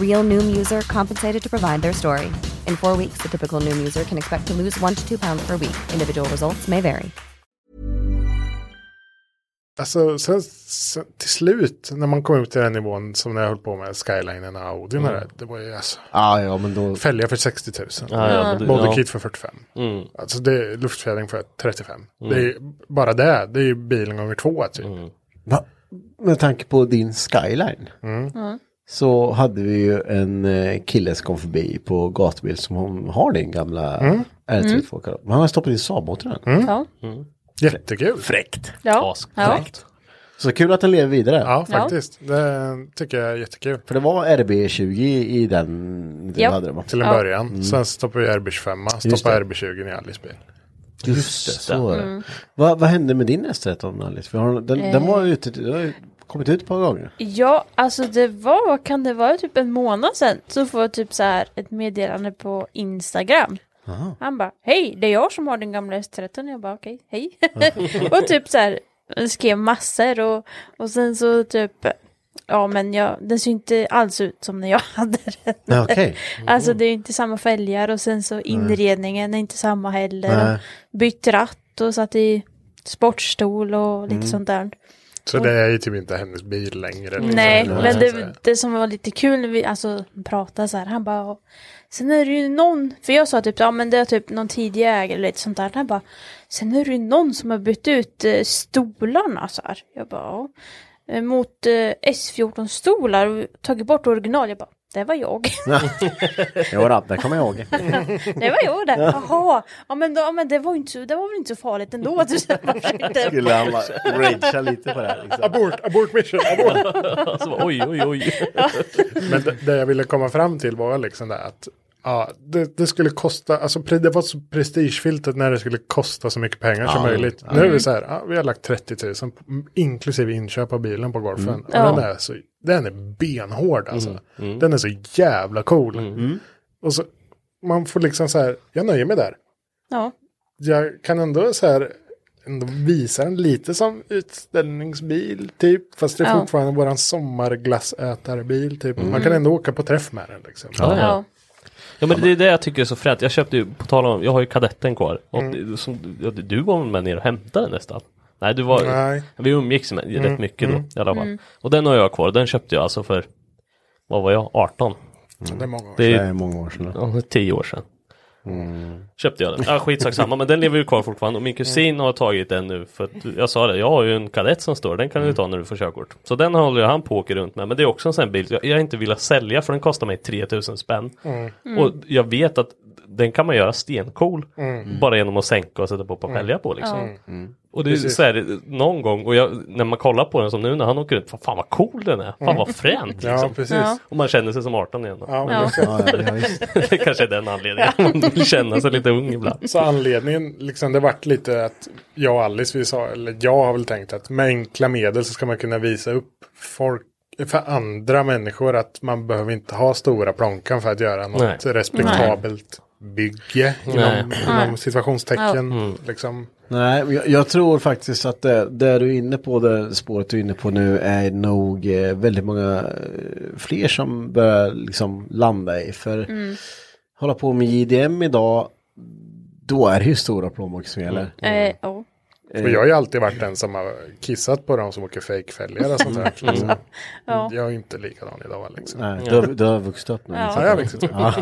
G: Real Noom user compensated to provide their story. In four weeks, the typical Noom user can expect to lose one to two pounds per week. Individual results may vary.
C: Alltså, sen, sen, till slut, när man kom upp till den nivån som när jag höll på med Skylinen och Audin och det där, det var ju alltså,
A: Ja, Mm. Ah, ja, men då... Ah,
C: fälgar för 60 000.
B: Ja, ja, men det- ja.
C: Bodykit för 45.
B: Mm.
C: Alltså det är luftfjädring för 35.
A: Mm.
C: Det är ju bara det, det är ju bilen gånger två typ.
A: Va? Med tanke på din skyline.
C: Mm.
A: Så hade vi ju en eh, kille som kom förbi på gatubil som hon har din gamla
C: Mm.
A: R32. -karavan. Men Han har stoppat in Saab i den.
D: Mm. Ja.
C: Mm. Jättekul.
A: Fräckt.
D: Ja. ja.
A: Så kul att den lever vidare.
C: Ja, faktiskt. Det tycker jag är jättekul.
A: För det var RB20 i den du
D: Japp.
A: hade det va? Mm.
C: Till en
D: Ja.
C: början. Sen stoppar vi RB25, stoppar
A: det.
C: RB20 i Alice bil.
A: Just det, så var det.
D: Mm.
A: Vad, vad hände med din S13 Alice? För har du- den,
D: Eh.
A: den var ute, den har ju kommit ut ett par gånger.
D: Ja, alltså det var, vad kan det vara, typ en månad sedan så får jag typ så här ett meddelande på Instagram. Han bara, hej, det är jag som har den gamla S13. Jag bara, okej, hej. och typ så här, skrev massor och, och sen så typ, ja men jag, den ser inte alls ut som när jag hade den.
A: Nej, Okej.
D: Alltså det är ju inte samma fälgar och sen så inredningen är inte samma heller. Och bytt ratt och satt i sportstol och lite
A: Mm.
D: sånt där.
C: Så det är ju typ inte hennes bil längre. liksom.
D: Nej,
A: Mm.
C: Eller
D: men
C: vad man ska
D: det,
C: säga.
D: det som var lite kul när vi alltså, pratade så här, han bara, "Ja." sen är det ju någon, för jag sa typ, ja men det är typ någon tidigare ägare eller lite sånt där, han bara, sen är det ju någon som har bytt ut eh, stolarna så här. Jag bara, "Ja." Eh, Mot eh, S14-stolar och tagit bort original, jag bara, det var jag.
A: Jo då, det kommer jag ihåg.
D: det var jag det. Jaha, ja men, då, ja, men det, var ju inte, så- det var väl inte så farligt ändå. Du sa, "Jag försökte-
A: Skulle han bara ragea lite på det här liksom.
C: Abort, abort mission, abort.
B: Alltså, bara, oj, oj, oj.
C: Men det, det jag ville komma fram till var liksom det att ja, det, det skulle kosta, alltså pre- det var så prestigefyllt att när det skulle kosta så mycket pengar som möjligt. Nu är vi så här, ja, vi har lagt 30 000 på- m- inklusive inköp av bilen på golfen. Och den, är så, den är benhård alltså. Den är så jävla cool. Och så, man får liksom så här, jag nöjer mig där.
D: Ja.
C: Jag kan ändå så här ändå visa den lite som utställningsbil typ. Fast det är
D: Ja.
C: fortfarande våran sommarglassätarbil typ. Man kan ändå åka på träff med den liksom.
B: Ja, ja. ja men det är det jag tycker är så fränt. Jag köpte ju, på tal om, jag har ju kadetten kvar. Och
C: Mm.
B: det- som, ja, du var väl med ner och hämtade den nästan? Nej, du var,
C: Nej.
B: vi umgicks med,
C: Mm,
B: rätt mycket
C: mm.
B: då i alla fall.
C: Mm.
B: Och den har jag kvar, den köpte jag alltså för, vad var jag, 18?
C: Det är många år
A: sedan. Det är många år sedan. Mm.
B: Ja, det är 10 år sedan. Köpte jag den. Ja, skitsak samma, men den lever ju kvar fortfarande. Och min kusin har tagit den nu. För att jag sa det, jag har ju en kadett som står, den kan
H: Mm.
B: du ta när du får körkort. Så den håller ju han på och åker runt med. Men det är också en sån här bil jag, jag inte vill sälja för den kostar mig 3000 spänn.
C: Mm.
H: Mm.
B: Och jag vet att den kan man göra stencool.
H: Mm.
B: Bara genom att sänka och sätta på pappelja på liksom.
H: Mm. Ja. Mm.
B: Och det är
H: Precis.
B: så här, någon gång, och jag, när man kollar på den som nu när han åker runt, fan, fan vad cool den är, fan
H: Mm.
B: vad fränt
H: Ja,
B: liksom.
H: precis. Ja.
B: Och man känner sig som 18 igen då.
C: Ja,
B: Men-
C: men- Ja, ja,
B: det kanske är den anledningen, man vill känna sig lite ung ibland.
C: Så anledningen, liksom, det vart lite att jag och Alice, vi sa, eller jag har väl tänkt att med enkla medel så ska man kunna visa upp folk, för andra människor att man behöver inte ha stora plånkan för att göra något
B: Nej.
C: respektabelt bygge
A: Nej.
C: inom, inom
A: Nej.
C: situationstecken.
A: Ja. Mm.
C: Liksom.
A: Nej, men jag, jag tror faktiskt att det, det du är inne på, det spåret du är inne på nu är nog eh, väldigt många eh, fler som börjar liksom landa i. För
D: Mm.
A: hålla på med JDM idag, då är det ju stora plånböcker som
B: Mm.
A: gäller.
C: Mm.
D: Eh, ja.
C: Och jag har ju alltid varit den som har kissat på de som åker fejkfälgar och sånt där.
A: Mm.
C: Liksom.
D: Ja.
C: Jag är inte likadan idag. Liksom.
A: Nej, du har- du har vuxit upp nu,
C: Ja,
A: liksom.
C: jag har vuxit upp.
A: Ja.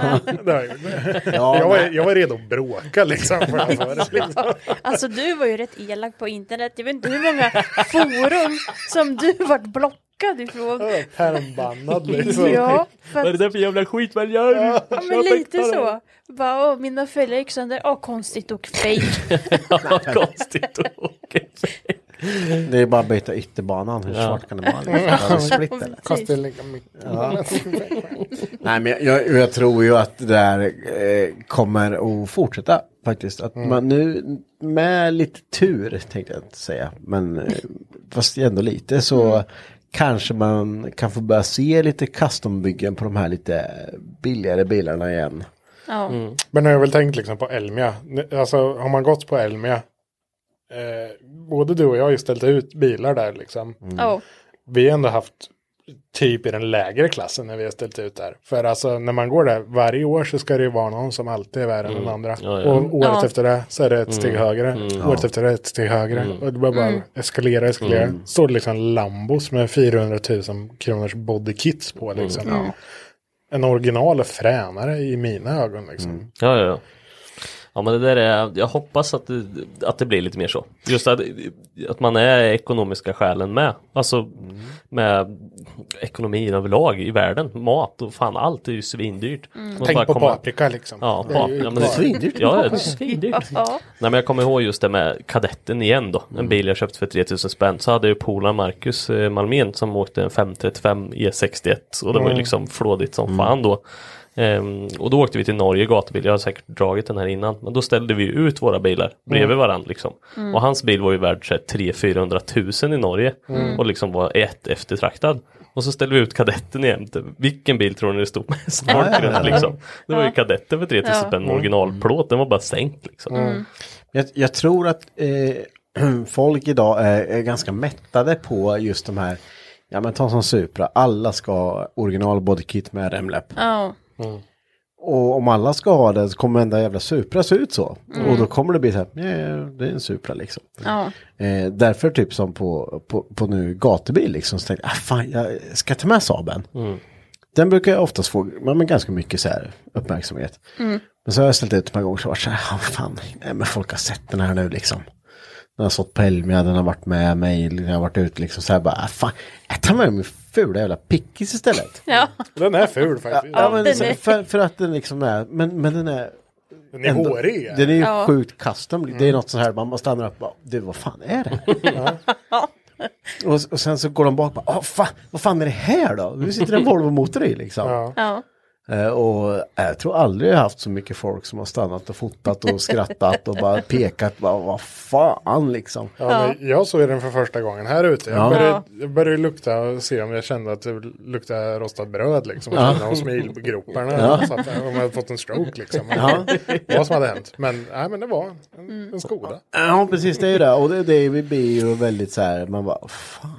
C: Det har jag gjort.
A: Ja,
C: jag, var,
A: men-
C: jag var redo att bråka liksom. För att få det, liksom.
D: Alltså du var ju rätt elak på internet. Jag vet inte hur många forum som du vart blockad ifrån.
C: Pärmbannad
B: liksom.
D: Ja, för
B: Vad är det
D: att,
B: där för jävla skit man gör?
D: ja men lite så. Bara, åh, mina följare gick sönder. Åh, konstigt och fake.
B: konstigt och
A: Det är bara att byta ytterbanan, hur
B: Ja.
A: svart kan det vara? Liksom? Alltså, split eller?
C: Kostar lika mycket.
A: Ja. Nej, men jag- jag, jag tror ju att det här eh, kommer att fortsätta faktiskt. Att
C: Mm.
A: man nu med lite tur tänkte jag inte säga, men eh, fast ändå lite så kanske man kan få börja se lite custombyggen på de här lite billigare bilarna igen.
D: Ja.
C: Oh. Mm. Men jag har väl tänkt liksom på Elmia. Nu- Alltså har man gått på Elmia. Eh, både du och jag har ju ställt ut bilar där liksom.
A: Mm.
D: Ja.
C: Vi har ändå haft typ i den lägre klassen när vi har ställt ut där. För alltså när man går där varje år så ska det ju vara någon som alltid är värre än
B: Mm.
C: den andra.
B: Ja, ja.
C: Och året
B: Ja.
C: efter det så är det ett steg
B: Mm.
C: högre.
B: Mm.
C: Året
B: Ja.
C: efter det är ett steg högre.
B: Mm.
C: Och det bara, bara
B: Mm.
C: eskalera, eskalera.
B: Mm.
C: Står det liksom Lambos med 400 000 kronors bodykits på liksom.
B: Mm. Ja.
C: En original är fränare i mina ögon liksom.
B: Ja, ja, ja. Ja men det där är, jag hoppas att det, att det blir lite mer så. Just att, att man är ekonomiska skälen med. Alltså
C: Mm.
B: med ekonomin överlag i världen. Mat och fan allt är ju svindyrt.
C: Mm.
B: Man
C: Tänk
B: bara
C: på
B: kommer-
C: paprika, liksom.
B: Ja,
C: Det är
B: pap-
C: ju
B: ja men
C: bara- Svindyrt.
B: Ja, det är svindyrt.
D: Ja.
B: Nej men jag kommer ihåg just det med kadetten igen då.
H: Mm.
B: En bil jag köpte för 3000 spänn. Så hade ju polaren Marcus eh, Malmén som åkte en 535 E61. Och det var ju
H: Mm.
B: liksom flådigt som fan då. Ehm, och då åkte vi till Norge gatubil. Jag har säkert dragit den här innan. Men då ställde vi ut våra bilar bredvid
H: Mm.
B: varandra liksom.
H: Mm.
B: Och hans bil var ju värd 300-400 tusen i Norge.
H: Mm.
B: Och liksom var ett eftertraktad. Och så ställde vi ut kadetten jämte. Vilken bil tror ni det stod mest
H: Ja,
B: folk
H: ja,
B: runt
H: ja.
B: liksom? Det var ju
H: Ja.
B: kadetten för 3000
H: Ja.
B: spänn
H: Mm.
B: originalplåt. Den var bara sänkt liksom.
A: Mm. Jag, jag tror att eh, folk idag är, är ganska mättade på just de här, ja men ta som Supra, alla ska ha original bodykit med remläpp.
D: Ja.
A: Och om alla ska ha det så kommer enda jävla Supra se ut så.
D: Mm.
A: Och då kommer det bli så här, "Ja, ja, det är en Supra liksom.
E: Oh.
D: Ja.
A: Eh, därför typ som på, på, på nu gatubil liksom, så tänkte jag, ah, fan jag ska ta med Saaben.
B: Mm.
A: Den brukar jag oftast få ja, men ganska mycket så här, uppmärksamhet.
H: Mm.
A: Men så har jag ställt ut ett par gånger så har jag varit så här, ah, fan, nej, men folk har sett den här nu liksom. Den har stått på Elmia, den har varit med mig, den har varit ute liksom så här bara, ah, fan, jag tar med min fula jävla pickis istället.
D: Ja.
C: Den är ful faktiskt.
A: Ja, men så, för, för att den liksom är, men, men den är...
C: Den är hårig.
A: Den är ju
D: Ja.
A: sjukt custom. Det är
C: Mm.
A: något så här, man bara stannar upp och bara, du vad fan är det här? och, och sen så går de bak och bara, "Ah, fan, vad fan är det här då? Nu sitter det en Volvo-motor i liksom.
D: Ja.
A: Eh, Och jag tror aldrig jag haft så mycket folk som har stannat och fotat och skrattat och bara pekat. Bara, vad fan liksom.
C: Ja, men jag såg den för första gången här ute. Jag
A: Ja.
C: började,
A: Ja.
C: jag började lukta och se om jag kände att det luktade rostat bröd liksom. Och
A: Ja.
C: känna om smilgroparna.
A: Ja.
C: Så att, eh, om jag hade fått en stroke liksom.
A: Ja.
C: Vad som hade hänt. Men, nej, men det var en, en skoda.
A: Ja, precis det är ju det. Och det, det blir ju väldigt så här, man bara, fan.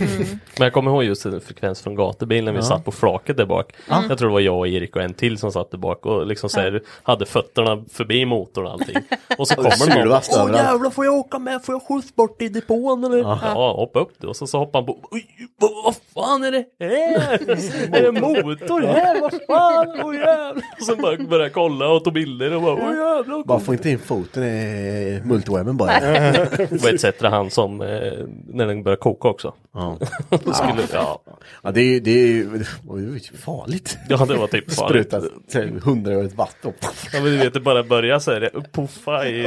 B: Men jag kommer ihåg just en frekvens från gatubilen när vi
A: Ja.
B: satt på flaket där bak.
A: Mm.
B: Jag tror det var jag och Erik och en till som satt där bak och liksom så här, hade fötterna förbi motorn och allting. Och så
A: Och det
B: kommer någon.
A: sulvast Alltså, överallt.
B: jävlar får jag åka med? Får jag skjuts bort till depån eller? Ja,
A: Ja.
B: hoppa upp du. Och så, så hoppar han på. Oj, vad, vad fan är det här? är det motor här? Vad fan? Åh jävlar. Och sen bara började jag kolla och tog bilder och bara. Oj, jävlar. vad
A: Bara
B: coolt."
A: få inte in foten i multiwebben bara.
B: Det var etc. han som, eh, när den började koka också.
A: Ja.
B: Skulle, ja.
A: Ja, det är ju, det är ju det var ju typ farligt.
B: Ja, det var typ farligt.
A: Spruta så här hundraårigt vatten.
B: Ja men du vet det bara börjar så här, puffa i...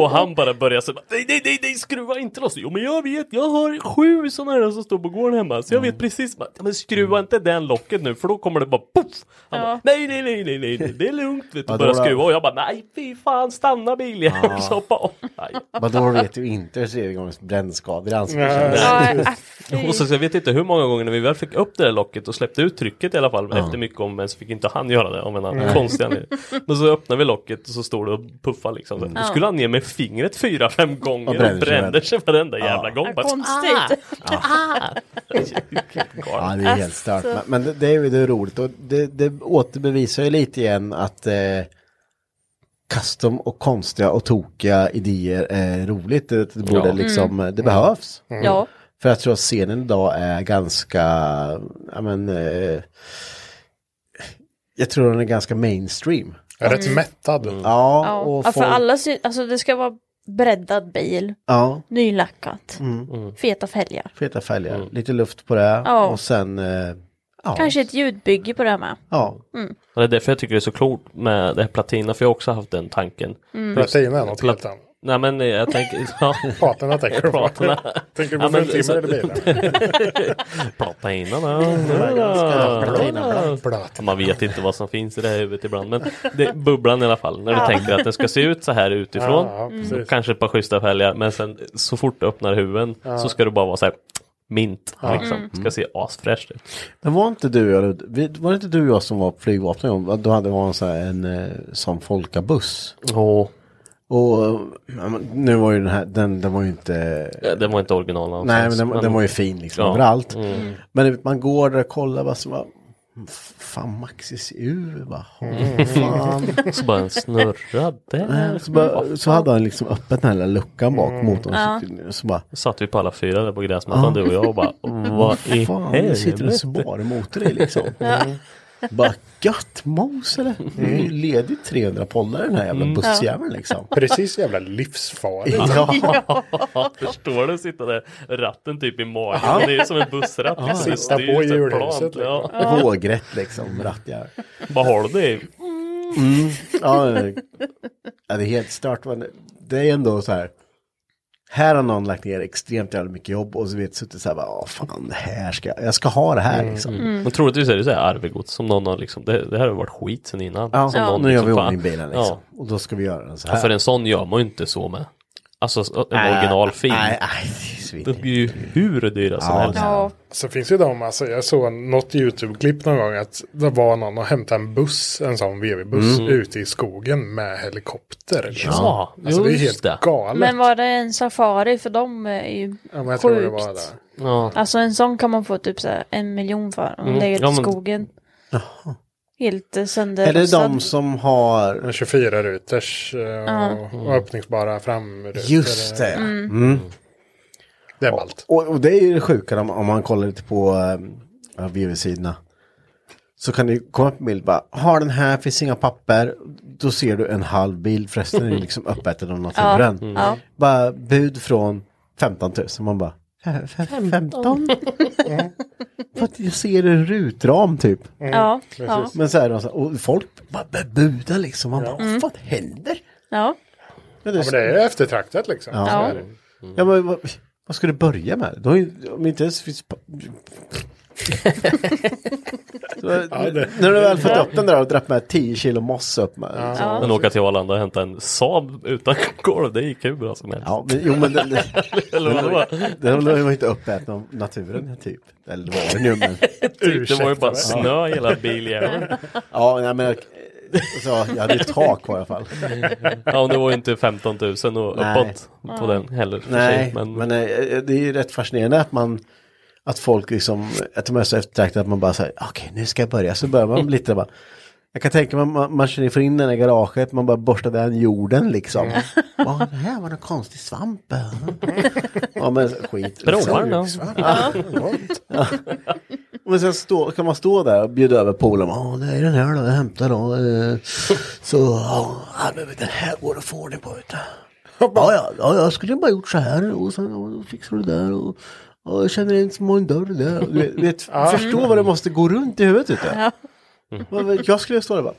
B: och han bara börjar så här, nej nej nej nej skruva inte loss. Jo men jag vet, jag har sju sådana här som står på gården hemma. Så jag
A: Mm.
B: vet precis, bara, ja, men skruva inte den locket nu för då kommer det bara poff. Han bara, nej nej nej nej nej nej, det är lugnt vet du.
A: Ja, då
B: Börjar
A: var det-
B: skruva och jag bara, nej fy fan stanna bilen.
A: Ja.
B: Och så hoppa av. Nej.
A: Men då vet du inte hur tredje gångens brännskador i ansiktet
B: Nej.
A: känns.
B: äh,
D: äh,
B: Och så, så jag vet inte hur många gånger när vi väl fick upp det där locket och släppte ut trycket i alla fall
A: Ja.
B: efter mycket om men så fick inte han göra det av en annan
A: Nej.
B: konstig anledning. Men så öppnar vi locket och så står det och puffar liksom. så här.
D: Ja.
B: Då skulle han ner med fingret fyra, fem gånger och bränner,
A: bränner Mm. sig
B: sig varenda jävla gång. Ah. Bara,
D: Konstigt. Ah.
A: Ja, det är helt
D: Alltså.
A: stört. Men, men det, det är ju det är roligt och det, det återbevisar ju lite igen att eh, custom och konstiga och tokiga idéer är roligt. Det, det borde
B: Ja.
A: liksom,
D: Mm.
A: det behövs.
D: Mm. Ja.
A: För jag tror att scenen idag är ganska, ja men, eh, jag tror den är ganska mainstream.
C: Rätt Mm. mättad.
A: Ja,
D: Ja,
A: och
D: ja, för
A: folk-
D: alla sy- alltså det ska vara breddad bil,
A: Ja.
D: nylackat,
A: Mm. Mm.
D: feta fälgar.
A: Feta fälgar, lite luft på det
D: Ja.
A: och sen, eh, ja.
D: Kanske ett ljudbygge på det här med.
A: Ja.
D: Mm.
B: Och det är därför jag tycker det är så klokt med det här platina, för jag har också haft den tanken.
D: Mm.
C: Platina är något
B: Plat-
C: helt annat.
B: Nej men eh, jag tänker... Ja.
C: Platina tänker du på. Tänker du på fruntimmer eller bilar?
B: Platina,
C: Ja, ganska-
B: ja.
C: platina,
B: Ja, Man vet inte vad som finns i det här huvudet ibland. Men det, bubblan i alla fall. När du
C: Ja.
B: tänker att den ska se ut så här utifrån.
C: Ja, ja, precis.
B: och kanske ett par schyssta fälgar. Men sen så fort du öppnar huven
A: Ja.
B: så ska du bara vara så här mint.
A: Ja.
B: Liksom.
A: Mm.
B: Ska se asfräscht ut.
A: Men var inte du, och jag- vi- var det inte du och jag som var på flygvapnet? en gång? Då hade man så här en eh, som folkabuss.
B: Oh.
A: Och eh, men nu var ju den här, den, den var ju inte...
B: Ja, Den var inte original.
A: nej, men
B: någonstans,
A: den, den var ju fin liksom
B: Ja.
A: överallt.
B: Mm.
A: Men man går där och kollar vad som var... Fan, Maxis U, va?
B: Mm.
A: Fan.
B: Så bara en snurra där.
A: Nej, Så, bara, så hade han liksom öppet den här lilla luckan bak
B: Mm.
A: mot
B: Ja.
A: oss. Så, så bara...
B: Satt vi på alla fyra där på gräsmattan du och jag och bara vad i
A: Fan, nu sitter det en
B: helvete?"
A: Subaru-motor i liksom.
B: Ja.
A: Bara gött mos eller? Det är ju ledigt 300 pollar i den här jävla
B: Mm.
A: bussjäveln liksom.
C: Precis jävla livsfarligt.
A: Ja.
B: Ja, förstår du sitta där ratten typ i magen.
A: Ja.
B: Det är ju som en bussratt. liksom.
A: Ja.
B: Den
A: Sitta
B: styrs
A: på
B: så här
A: hjulhuset,
B: plant, Ja.
A: Vågrätt liksom, rattjävel.
B: Vad har du det i?
A: Mm. Ja, det- ja, det är helt stört. Men det är ändå så här. Här har någon lagt ner extremt jävla mycket jobb och så vet suttit så här bara, "Åh, fan det här ska jag, jag ska ha det här liksom.
B: Mm. Men troligtvis är det så här arvegods som någon har liksom, det, det här har varit skit sen innan.
A: Ja,
B: som någon
A: nu gör vi i
B: liksom,
A: ordning
B: fan-
A: bilen liksom. Och då ska vi göra den så
B: Ja.
A: här.
B: För en sån gör man ju inte så med. Alltså s- en
A: Äh,
B: originalfil.
A: nej,
B: det blir ju hur dyra som helst.
C: Så finns det ju de, alltså jag såg något YouTube-klipp någon gång att det var någon och hämtade en buss, en sån VW-buss
B: Mm.
C: ute i skogen med helikopter. liksom.
B: Ja,
C: alltså, det är ju
B: just
C: helt
B: det.
C: galet.
D: Men var det en safari? För de är ju
C: ja, men
D: sjukt.
C: jag tror det var det.
B: Ja.
D: Alltså en sån kan man få typ så här en miljon för om
A: Mm.
D: det är
A: Ja,
D: i
A: men-
D: skogen. Helt eh,
A: Är det
D: sönderrostad.
A: de som har...
C: 24-ruters eh, och, och öppningsbara framrutor.
A: Just det.
C: Mm.
A: Mm.
C: Det är ballt.
A: Och, och det är ju det sjuka om, om man kollar lite på äh, VV-sidorna. Så kan det ju komma upp en bild bara, har den här, finns inga papper. Då ser du en halv bild, förresten är det liksom uppäten av naturen.
D: Ja, ja.
A: Bara bud från 15 000, man bara, Femton? Mm. för att jag ser en rutram typ.
D: Ja, ja.
A: Men så är det så här, och folk bara budar liksom, man bara,
D: Mm.
A: vad fan händer?
D: Ja.
A: Ja,
C: Ja, men det är ju eftertraktat liksom.
A: Ja.
C: Så är det.
B: Mm.
A: Ja, men vad, vad ska du börja med? Du har ju, om inte ens finns... Så, När du väl fått upp den där och dratt med 10 kilo moss upp med. så-
B: Men åka till Arlanda och hämta en Saab utan golv, det gick hur bra som helst.
A: Ja, men, jo, men den, den,
B: Eller
A: den,
B: vadå?
A: den var ju inte uppäten av naturen typ. Eller det var den ju men.
B: Typ, det var ju bara
A: Ursäkta.
B: snö i hela biljäveln.
A: Ja, nej, men jag, så, jag hade ju tak på i alla fall.
B: Ja, och det var ju inte 15 000 och
A: Nej.
B: uppåt på den heller. för
A: Nej,
B: sig,
A: men,
B: men
A: eh, det är ju rätt fascinerande att man att folk liksom, att de är så eftertraktade att man bara säger okej nu ska jag börja, så börjar man lite bara. Jag kan tänka mig att man, man kör in- får in den i garaget, man bara borstar den jorden liksom. Vad det här var någon konstig svamp. Ja men skit. liksom.
B: Provar den då.
A: Ja. Ja. Men sen stå, kan man stå där och bjuda över polen. Ja, det är den här då, jag hämtar då. eh, Så, ja, men den här går att få ordning på. Vet du. Ja, ja, ja, jag skulle bara gjort så här och sen och fixar du det där. Och, och jag känner en smal dörr där. Du Vet, vet, Förstå vad det måste gå runt i huvudet. Vet du. Vad vet- Jag skulle stå där bara.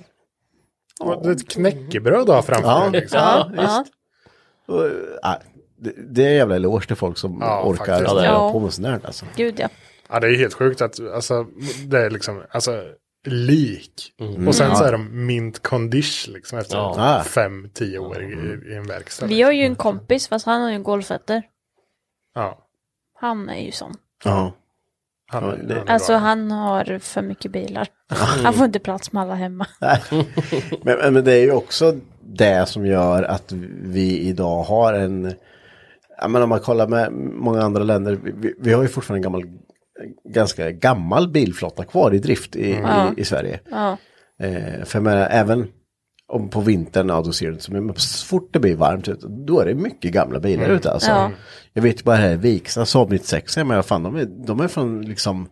C: Och Det är ett knäckebröd du har framför
A: Ja,
C: dig. Liksom.
A: ja, visst. Och, nej, det, det är en jävla eloge till folk som
C: Ja,
A: orkar
C: faktiskt.
A: hålla
D: Ja.
A: på med sånt där. Alltså.
D: Gud ja.
C: Ja, det är helt sjukt att alltså, det är liksom alltså, lik. Mm. Och sen så är de mint condition liksom efter
A: Mm. Ja. Ah.
C: fem, tio år i, i en verkstad.
D: Vi har ju en kompis, fast han har ju golfötter.
C: Ja,
D: Han är ju sån.
A: Ja.
C: han,
A: Ja, det-
C: han är
D: Alltså
C: bra.
D: han har för mycket bilar. Han får inte plats med alla hemma.
A: Men, men det är ju också det som gör att vi idag har en, ja men om man kollar med många andra länder, vi- vi, vi har ju fortfarande en gammal, ganska gammal bilflotta kvar i drift i, i, i Sverige.
D: Ja.
A: Eh, för jag menar, även om på vintern, ja då ser det inte så mycket, men så fort det blir varmt ute, då är det mycket gamla bilar ute alltså.
D: Ja.
A: Jag vet ju bara här i Viksta, Saab 96, men vad fan, de är, de är från liksom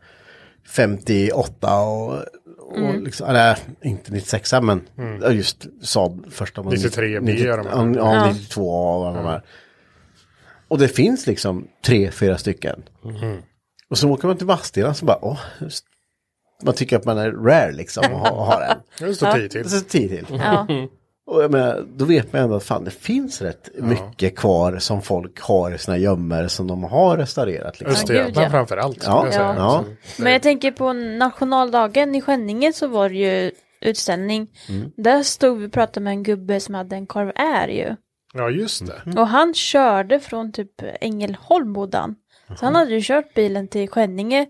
A: 58 och, och liksom, eller inte 96 men ja, just Saab första. var
C: 93
A: 90
C: gör de här.
A: Ja, ja, 92 och alla de här. Och det finns liksom tre, fyra stycken.
C: Mm.
A: Och så åker man till Vadstena så bara, åh, just- man tycker att man är rare liksom och har, och har en.
C: Nu står tio till.
A: Och så tio till.
D: Ja.
A: Och jag menar, då vet man ändå att fan, det finns rätt mycket kvar som folk har i sina gömmor som de har restaurerat. Liksom.
C: Östergötland
D: gud, ja.
C: framför allt. skulle
A: Ja,
C: jag säga. Alltså,
A: ja.
D: Men jag tänker på nationaldagen i Skänninge så var det ju utställning. Där stod vi och pratade med en gubbe som hade en korv är ju.
C: ja, just det.
A: Mm.
D: Och han körde från typ Ängelholm bodde han. Så han hade ju kört bilen till Skänninge.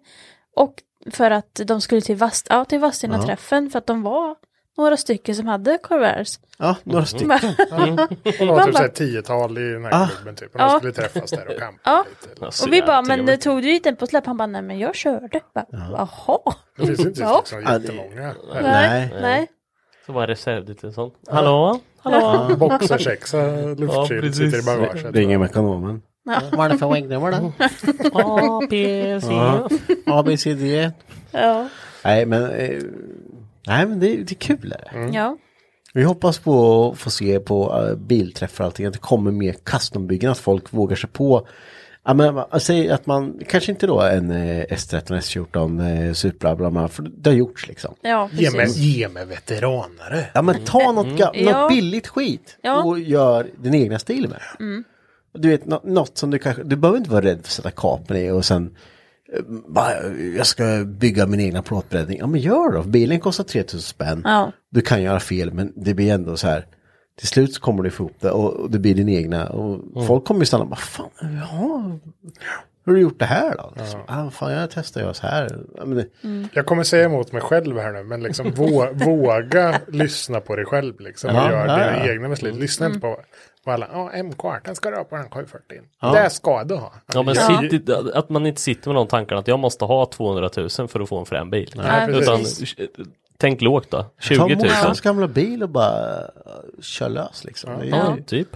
D: Och för att de skulle till, Vast ja, till Vadstena-träffen för att de var några stycken som hade korvärs.
A: Ja, några stycken. Mm. Ah.
C: Och det var typ
D: Mm. bara-
C: så här tiotal i den här klubben typ. Och de skulle träffas där och kampa
D: Ja.
C: lite. eller-
B: alltså,
D: Och vi bara,
B: jag tycker
D: men
B: väl-
D: tog du hit den på släpp? Han bara, nej men jag körde. Bara, Jaha.
C: Det finns inte
D: Ja.
C: liksom
A: Ja, det-
C: jättemånga.
A: Nej.
D: Nej.
B: Så var reservdelen sån. Hallå? Hallå?
C: Boxersexa,
B: Ja,
C: luftkyld,
B: precis.
C: sitter i bagaget.
A: Ringer med ekonomen. Vad är det för väggnummer då?
B: A, P, C.
A: A, B, C, D.
D: Ja.
A: Nej, men, eh, nej, men det, är- det är kul. Är det.
D: ja.
A: Vi hoppas på att få se på eh, bilträffar och allting, att det kommer mer custombyggen, att folk vågar sig på. Ja, men, man- säg att man, kanske inte då en eh, S13, S14, eh, Supra, bla, bla, för det har gjorts liksom.
D: Ja,
C: Ge mig,
D: precis. Mm.
C: ge mig veteranare.
A: Ja men ta något, ga-
D: Ja.
A: något billigt skit
D: Ja.
A: och gör din egna stil med. Du vet nå- något som du kanske, du behöver inte vara rädd för att sätta kapen i och sen eh, bara, jag ska bygga min egna plåtbreddning. Ja men gör då, bilen kostar 3000 spänn.
D: Ja.
A: Du kan göra fel men det blir ändå så här. Till slut så kommer du få ihop det och och det blir din egna. Och
B: Mm.
A: Folk kommer ju stanna och bara, fan, ja, hur har du gjort det här då? Liksom, ah, fan, jag testar göra så här. Ja, men det,
C: Jag kommer säga emot mig själv här nu, men liksom vå, våga lyssna på dig själv liksom. Och
A: Ja,
C: gör
A: ja,
C: dina
A: ja.
C: egna beslut. Lyssna inte på vad alla, ja M-kartan ska du ha på den 740. Det ska du ha.
B: Ja, men
C: Ja.
B: sitt, att man inte sitter med de tankarna att jag måste ha 200 000 för att få en frän bil.
C: precis.
B: Utan tänk lågt då, 20
A: ta
B: 000.
A: morsans gamla bil och bara eh, kör lös liksom. Det är-
B: Ja, typ.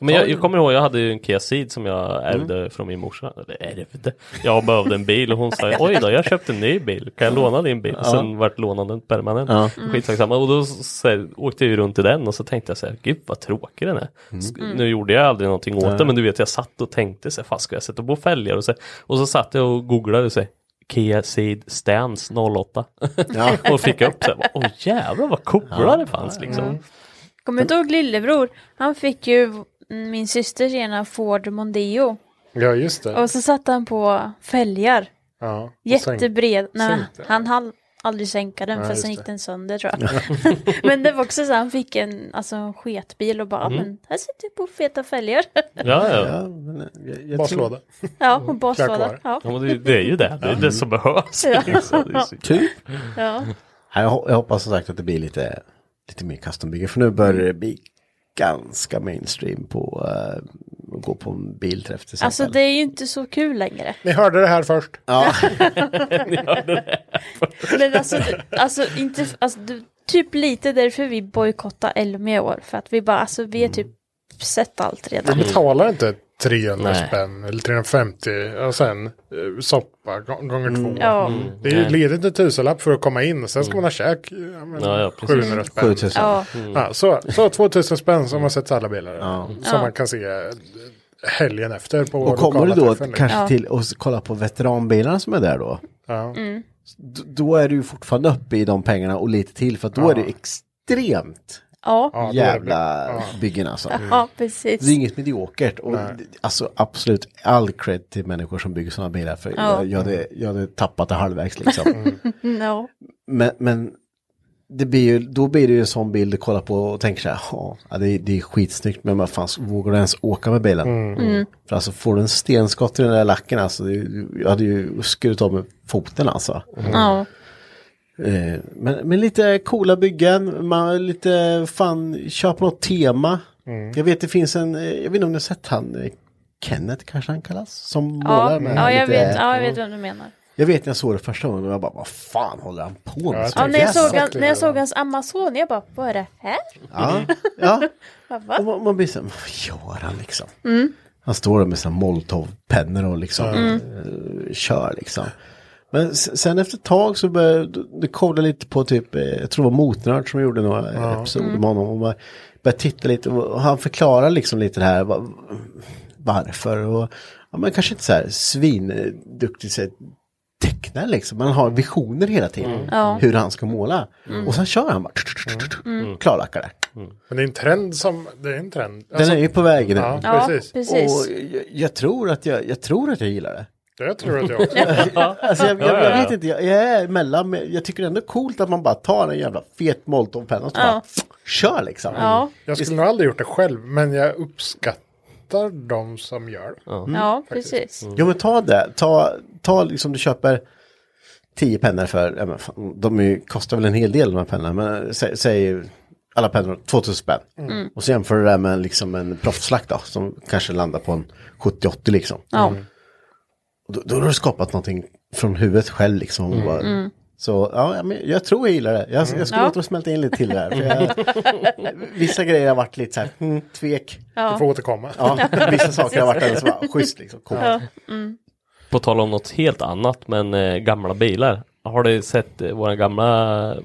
B: Men jag, jag kommer ihåg, jag hade ju en Kia Ceed som jag ärvde från min morsa. Eller ärvde? Jag behövde en bil och hon sa oj då, jag köpte en ny bil. Kan jag låna din bil? Sen vart lånandet permanent.
A: Ja.
B: Skitsamma. Och då så här, åkte jag ju runt i den och så tänkte jag så här, gud vad tråkig den är. Sk- Nu gjorde jag aldrig någonting åt det, men du vet jag satt och tänkte så här, fast ska jag sätta på fälgar? Och så, och så satt jag och googlade och så här, Kia Ceed Stance 08. och fick upp så här, åh jävlar vad coola det fanns liksom.
C: Mm.
D: Kommer du inte ihåg lillebror? Han fick ju min systers ena Ford Mondeo.
C: Ja, just det.
D: Och så satte han på fälgar.
C: Ja, och
D: Jättebred.
C: sänk-
D: Nej, men
C: sänkte.
D: han hann aldrig sänka den
C: Nej,
D: för sen
C: just
D: gick den sönder tror jag. men det var också så här, han fick en, alltså, en sketbil och bara,
B: Mm.
D: men här sitter jag på feta fälgar.
B: Ja, ja.
A: men eh, jag, jag
C: Baslåda.
D: ja, och baslåda. Ja.
B: Ja, men det, det är ju det. Det är det som behövs.
D: Ja.
B: liksom. Det är så-
A: Typ.
D: ja.
A: Nej, Jag, ho- jag hoppas som sagt att det blir lite, lite mer custombygge. För nu börjar det bli ganska mainstream på eh, att gå på en bilträff till exempel.
D: Alltså det är ju inte så kul längre.
C: Ni hörde det här först.
A: Ja,
D: Men alltså, det- alltså inte, alltså du, typ lite därför vi bojkottar Elmia i år. För att vi bara, alltså vi är
C: Mm.
D: typ sett allt
C: Vi
D: redan.
C: betalar inte 300
B: Nej.
C: spänn eller 350 och sen eh, soppa gång- gånger
A: Mm.
C: två. Mm.
D: Ja. Mm.
C: Det är ju ledigt en tusenlapp för att komma in och sen ska man ha käk. Ja, men,
B: Ja, ja, precis.
C: 700 spänn.
A: 7000.
D: Ja.
C: Ja, så, så 2000 spänn som har sett alla bilar. Som
D: Ja.
C: man kan se eh, helgen efter på
A: Och kommer
C: lokala
A: du då
C: träffen, liksom.
A: kanske
D: Ja.
A: till och s- kolla på veteranbilarna som är där då.
C: Ja.
D: Mm.
A: D- då är du ju fortfarande uppe i de pengarna och lite till för att då är det extremt
D: Ja.
C: Ja, då är det-
A: jävla
C: ja. Mm.
A: byggen alltså.
D: ja, precis.
A: Det är inget mediokert. Och d- alltså absolut all cred till människor som bygger sådana bilar. För jag, jag, hade, jag hade tappat det halvvägs liksom.
C: Mm.
D: No.
A: Men, men det blir ju, då blir det ju en sån bild du kollar på och tänker så här, "Ja, ja, det, är- det är skitsnyggt men vad fan, vågar du ens åka med bilen? För alltså får du en stenskott i den där lacken alltså, det, jag hade ju skurit av med foten alltså.
D: Ja.
A: Eh, Men, men lite coola byggen, man, lite fan, köp något tema.
C: Mm.
A: Jag vet det finns en, eh, jag vet inte om ni har sett han, eh, Kenneth kanske han kallas, som målar
D: Ja.
A: med
D: ja, jag
A: lite,
D: vet, ja, jag vet vem du menar.
A: Jag vet när jag såg det första gången och jag bara, vad fan håller han på med?
C: jag
A: Så
D: Ja, när, jag
A: jävla-
D: såg, han,
C: exakt
D: när jag
C: det.
D: såg hans Amazon, jag bara, vad är det här?
C: Mm.
A: Ja, ja.
D: Bara, Va?
A: Och man, man blir så här, vad gör han liksom?
D: Mm.
A: Han står där med sina molotovpennor och liksom
C: Mm.
A: eh, kör liksom. Men s- sen efter ett tag så började då- det kolla lite på typ, eh, jag tror det var Motnörd som gjorde några ja. episoder
C: Mm.
A: med honom. Och man började titta lite och han förklarar liksom lite det här va- varför. Och, ja, men kanske inte så här svinduktig så här, tecknare liksom, man har visioner hela tiden.
C: Mm.
D: Ja.
A: Hur han ska måla. Och sen kör han bara, klarlackar det.
C: Mm. Men det är en trend som, det är en trend.
A: Den är ju på väg nu.
C: Alltså- ja,
D: Ja,
C: precis.
D: precis.
A: Och jag, jag, tror att jag, jag tror att jag gillar det.
C: Det tror jag att jag också.
A: Alltså jag,
B: Ja,
A: jag,
B: ja,
A: jag
B: ja.
A: vet inte, jag, jag är emellan, men jag tycker det är ändå coolt att man bara tar en jävla fet moltonpenna och så bara kör liksom.
D: Ja,
C: Jag skulle nog aldrig gjort det själv, men jag uppskattar de som gör det.
D: ja, precis.
A: Mm.
C: Mm.
A: Jo men ta det, ta, ta liksom du köper tio pennor för, ja, men fan, de är ju, kostar väl en hel del de här pennorna, men sä, säg alla pennor 2000 spänn.
C: Mm.
D: Mm.
A: Och så jämför du det med liksom en proffslack då, som kanske landar på en 70-80 liksom.
D: Ja,
C: Mm.
A: Och då, då har du skapat någonting från huvudet själv liksom.
C: Mm.
A: Bara, Så ja, men jag tror jag gillar det. Jag, jag skulle
D: Mm. Ja.
A: låta dem smälta in lite till det här. För jag, vissa grejer har varit lite så här, mm, tvek.
C: Du får återkomma.
A: Ja, vissa saker har varit alldeles bara, schysst liksom. Coolt.
B: På tal om något helt annat men eh, gamla bilar. Har du sett eh, våra gamla eh,